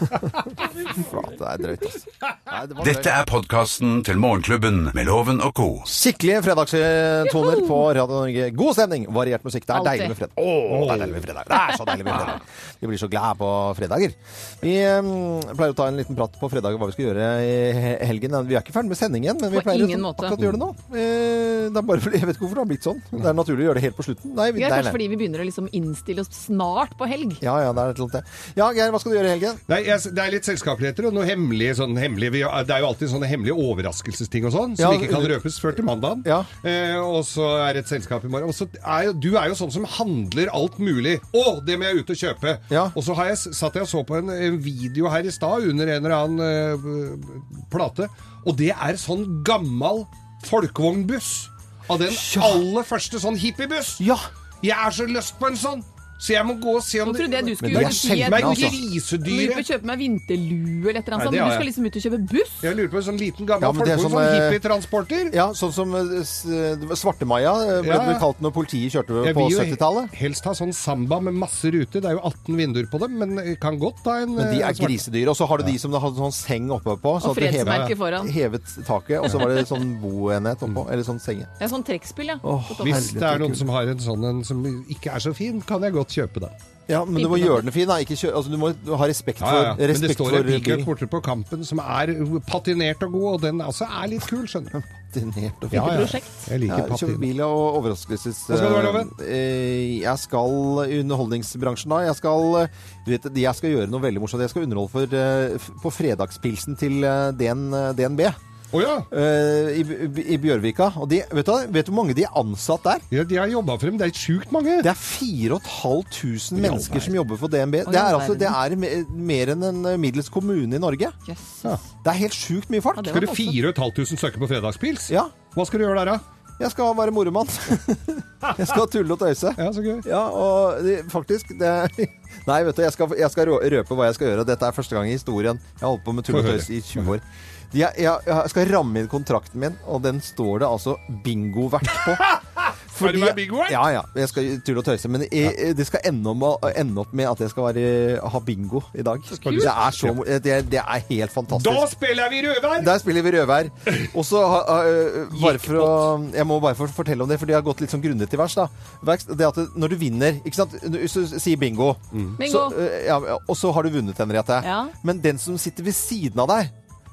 Speaker 3: Faen, det er drøyt, altså. Nei, det var drøyt.
Speaker 2: Dette er podkasten til Morgenklubben med Loven og co.
Speaker 3: Skikkelige fredagstoner på Radio Norge. God stemning, variert musikk. Det er
Speaker 2: Alltid.
Speaker 3: deilig med fredag. Å, det er deilig med fredag. Det er så deilig med fredag. Vi blir så glad på fredager. Vi eh, pleier å ta en liten prat på fredager hva vi skal gjøre i he- helgen. Vi er ikke ferdig med sendingen, men vi
Speaker 4: På
Speaker 3: pleier å
Speaker 4: ingen
Speaker 3: sånn
Speaker 4: måte.
Speaker 3: akkurat gjøre det nå. Eh, Det er bare fordi, jeg vet ikke hvorfor det har blitt sånn. Det er naturlig å gjøre det helt på slutten. Nei,
Speaker 4: Det er
Speaker 3: nei,
Speaker 4: kanskje
Speaker 3: nei.
Speaker 4: fordi vi begynner å liksom innstille oss snart på helg.
Speaker 3: Ja, ja, det er et eller annet. Ja, Geir, hva skal du gjøre i helgen?
Speaker 5: Nei, jeg, det er litt selskapeligheter og noe hemmelig, sånn hemmelig vi, Det er jo alltid sånne hemmelige overraskelsesting og sånn, som
Speaker 3: Ja,
Speaker 5: ikke kan røpes før til mandagen. Eh, og så er det et selskap i morgen. Og så er jo, du er jo sånn som handler alt mulig. Å, det må jeg ut og kjøpe! Og så har jeg, s- satt jeg og så på en, en video her i stad under en eller annen eh, plate, og det er sånn gammal folkevognbuss. Av den aller første sånn hippiebuss. Jeg er så lyst på en sånn! Så jeg må gå og se om
Speaker 4: Nå trodde jeg du skulle
Speaker 5: Men de
Speaker 4: ut
Speaker 5: er
Speaker 4: i
Speaker 5: sjeldne,
Speaker 4: et-
Speaker 5: altså.
Speaker 4: Må ut og kjøpe meg vinterlue eller et eller
Speaker 5: Nei,
Speaker 4: annet sånt.
Speaker 5: det har
Speaker 4: Du skal
Speaker 5: jeg.
Speaker 4: liksom ut og kjøpe buss.
Speaker 5: Jeg lurer på en sånn liten gammel
Speaker 3: Ja, men det er
Speaker 5: folkevogn,
Speaker 3: som,
Speaker 5: sånn
Speaker 3: eh,
Speaker 5: hippietransporter.
Speaker 3: Ja, sånn som eh, s- eh, Svartemaja eh, ble
Speaker 5: Ja, ja.
Speaker 3: det kalt når politiet kjørte
Speaker 5: Jeg
Speaker 3: på
Speaker 5: vil jo
Speaker 3: 70-tallet.
Speaker 5: helst ha sånn samba med masse ruter. Det er jo 18 vinduer på dem, men jeg kan godt ta en
Speaker 3: Men de
Speaker 5: eh,
Speaker 3: er
Speaker 5: svart.
Speaker 3: grisedyre. Og så har du de som har sånn seng oppe på.
Speaker 4: Og
Speaker 3: at du
Speaker 4: fredsmerke foran.
Speaker 3: hevet taket, og så var det sånn boenhet oppå. Eller sånn senge.
Speaker 4: Det er sånn trekkspill, ja.
Speaker 3: Åh,
Speaker 4: På toppen.
Speaker 5: Hvis det er noen som har en sånn en som ikke er så fin, kan jeg godt kjøpe den.
Speaker 3: Ja, men du må gjøre den fin, da. Ikke kjø altså, du må ha respekt
Speaker 5: Ja, ja, ja.
Speaker 3: for,
Speaker 5: Men det
Speaker 3: respekt
Speaker 5: står en
Speaker 3: for
Speaker 5: pickup
Speaker 3: bil.
Speaker 5: borte på Kampen som er patinert og god, og den altså er litt kul, skjønner du.
Speaker 3: Patinert og
Speaker 5: Ja, ja.
Speaker 3: prosjekt.
Speaker 5: Jeg liker
Speaker 3: Ja, kjøp
Speaker 5: patin.
Speaker 3: bil og overraskelses...
Speaker 5: Hva skal du være, Loven?
Speaker 3: Eh, Jeg skal i underholdningsbransjen da. Jeg skal, du vet, jeg skal gjøre noe veldig morsomt. Jeg skal underholde for, eh, f- på fredagspilsen til eh, DN, DNB. Eh, I, B- I Bjørvika. Og de, vet, du, hva? vet du hvor mange de er ansatt der?
Speaker 5: Ja, de har jobba frem. Det er sjukt mange.
Speaker 3: Det er 4500 mennesker som jobber for DNB.
Speaker 5: Oi,
Speaker 3: Det er,
Speaker 5: all
Speaker 3: altså, det er me- mer enn en eh, middels kommune i Norge.
Speaker 5: Ja.
Speaker 3: Det er helt sjukt mye folk.
Speaker 5: Skal du 4500 søke på fredagspils?
Speaker 3: Ja.
Speaker 5: Hva skal du gjøre der, da?
Speaker 3: Jeg skal være moromann. Jeg skal tulle og tøyse.
Speaker 5: Ja, så gøy.
Speaker 3: og det, faktisk, det, Nei, vet du, jeg skal, jeg skal rå- røpe hva jeg skal gjøre. Dette er første gang i historien. Jeg har holdt på med tull og
Speaker 5: Få høre.
Speaker 3: tøys i 20 år. Jeg, jeg, jeg skal ramme inn kontrakten min, og den står det altså bingovert på.
Speaker 5: Skal du være bingovert?
Speaker 3: Ja, ja. Jeg skal tulle og tøyse. Men jeg, det skal ende, om, ende opp med at jeg skal være, ha bingo i dag.
Speaker 5: kult.
Speaker 3: Det er, så, mo- det, det er helt fantastisk.
Speaker 5: Da spiller vi rødvær!
Speaker 3: Der spiller vi rødvær. Og så har- har, øh, bare for å, Jeg må bare få fortelle om det, for de har gått litt sånn grundig til vers. da. Verks- Det at det- når du vinner ikke sant? Hvis du sier bingo,
Speaker 5: Mm.
Speaker 4: Bingo.
Speaker 3: Så, øh, ja, og så har du vunnet, Henriette.
Speaker 4: Ja.
Speaker 3: Men den som sitter ved siden av deg,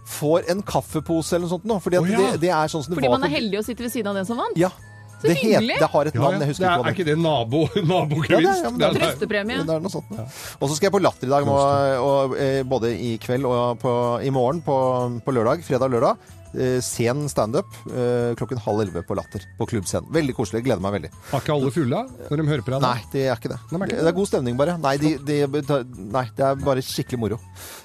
Speaker 3: får en kaffepose eller noe sånt. nå, Fordi, at
Speaker 5: Å, ja.
Speaker 3: det, det er sånn som det
Speaker 4: Fordi
Speaker 3: var
Speaker 4: man er
Speaker 3: på-
Speaker 4: heldig å sitte ved siden av den som vant.
Speaker 3: Ja.
Speaker 4: Så
Speaker 3: det
Speaker 4: hyggelig.
Speaker 3: det har et navn, jeg husker ikke
Speaker 5: det er,
Speaker 3: hva det
Speaker 5: er ikke det nabo,
Speaker 3: Ja, det
Speaker 5: nabogevinst?
Speaker 3: er- ja, men
Speaker 5: Det er-
Speaker 3: det er-
Speaker 4: Trøstepremie.
Speaker 3: Det er noe sånt, ja. Og så skal jeg på Latter i dag, og, og, eh, både i kveld og på, i morgen på, på lørdag. Fredag og lørdag. Eh, sen standup eh, klokken halv elleve på Latter på klubbscenen. Veldig koselig. Gleder meg veldig.
Speaker 5: Har ikke alle fulla når de hører på deg? nå?
Speaker 3: Nei, det er ikke det.
Speaker 5: Nei, men er ikke
Speaker 3: Det
Speaker 5: det?
Speaker 3: er god stemning, bare. Nei, de, de, nei det er bare skikkelig moro.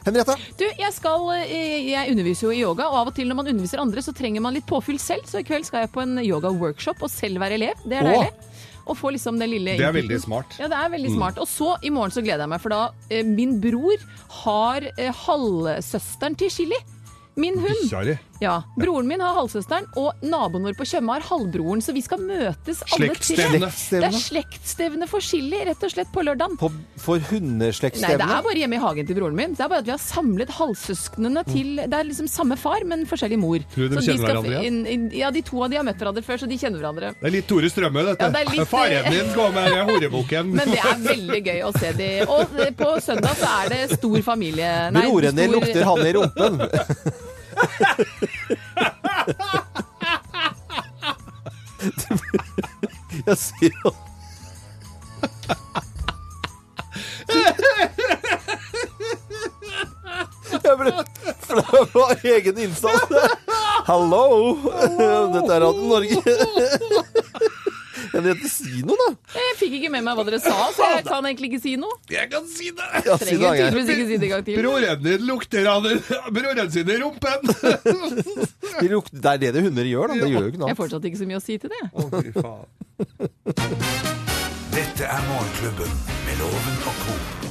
Speaker 3: Henriette?
Speaker 4: Du, jeg, skal, eh, jeg underviser jo i yoga, og av og til når man underviser andre, så trenger man litt påfyll selv. Så i kveld skal jeg på en yoga-workshop og selv være elev. Det er
Speaker 5: Åh.
Speaker 4: deilig. Og få liksom den lille
Speaker 5: Det er
Speaker 4: innflytelsen.
Speaker 5: veldig smart.
Speaker 4: Ja, det er veldig
Speaker 5: Mm.
Speaker 4: smart. Og så i morgen så gleder jeg meg, for da eh, min bror har eh, halvsøsteren til Chili. Min hund.
Speaker 5: Bikkja di.
Speaker 4: Ja. Broren min har halvsøsteren, og naboen vår på Tjøme har halvbroren. Så vi skal møtes alle tre.
Speaker 5: Slektsstevne.
Speaker 4: Det er slektsstevne for Chili, rett og slett, på lørdagen.
Speaker 3: På,
Speaker 4: Nei,
Speaker 3: for
Speaker 4: det
Speaker 3: hundeslektsstevne?
Speaker 4: er bare hjemme i hagen til broren min. Det er bare at vi har samlet halvsøsknene til Det er liksom samme far, men forskjellig mor.
Speaker 5: Mm. Tror du de
Speaker 4: Så
Speaker 5: kjenner
Speaker 4: skal-
Speaker 5: hverandre igjen?
Speaker 4: inn- inn- Ja, de to av de har møtt hverandre før, så de kjenner hverandre.
Speaker 5: Det er litt Tore Strømme, dette.
Speaker 4: Ja, det er litt-
Speaker 5: Faren din går med den horebukken.
Speaker 4: Men det er veldig gøy å se de. Og eh, på søndag så er det stor familie...
Speaker 3: Broren din lukter han i rumpen. Jeg sier jo Jeg ble flau av egen innsats. Hallo! Dette er Radio Norge. Henriette, si noe, da.
Speaker 4: Jeg fikk ikke med meg hva dere sa, så jeg kan egentlig ikke si noe.
Speaker 5: Jeg kan si det!
Speaker 3: Ja, si
Speaker 4: Trenger
Speaker 3: det, Geir.
Speaker 4: tydeligvis ikke si det en gang til.
Speaker 5: Broren din lukter av den broren sin i rumpen!
Speaker 3: De lukter- Det er det det hunder gjør, da. Det gjør jo ikke noe
Speaker 4: Jeg har
Speaker 3: annet.
Speaker 4: fortsatt ikke så mye å si til det.
Speaker 5: Fy faen.
Speaker 2: Dette er Morgenklubben med Loven og co.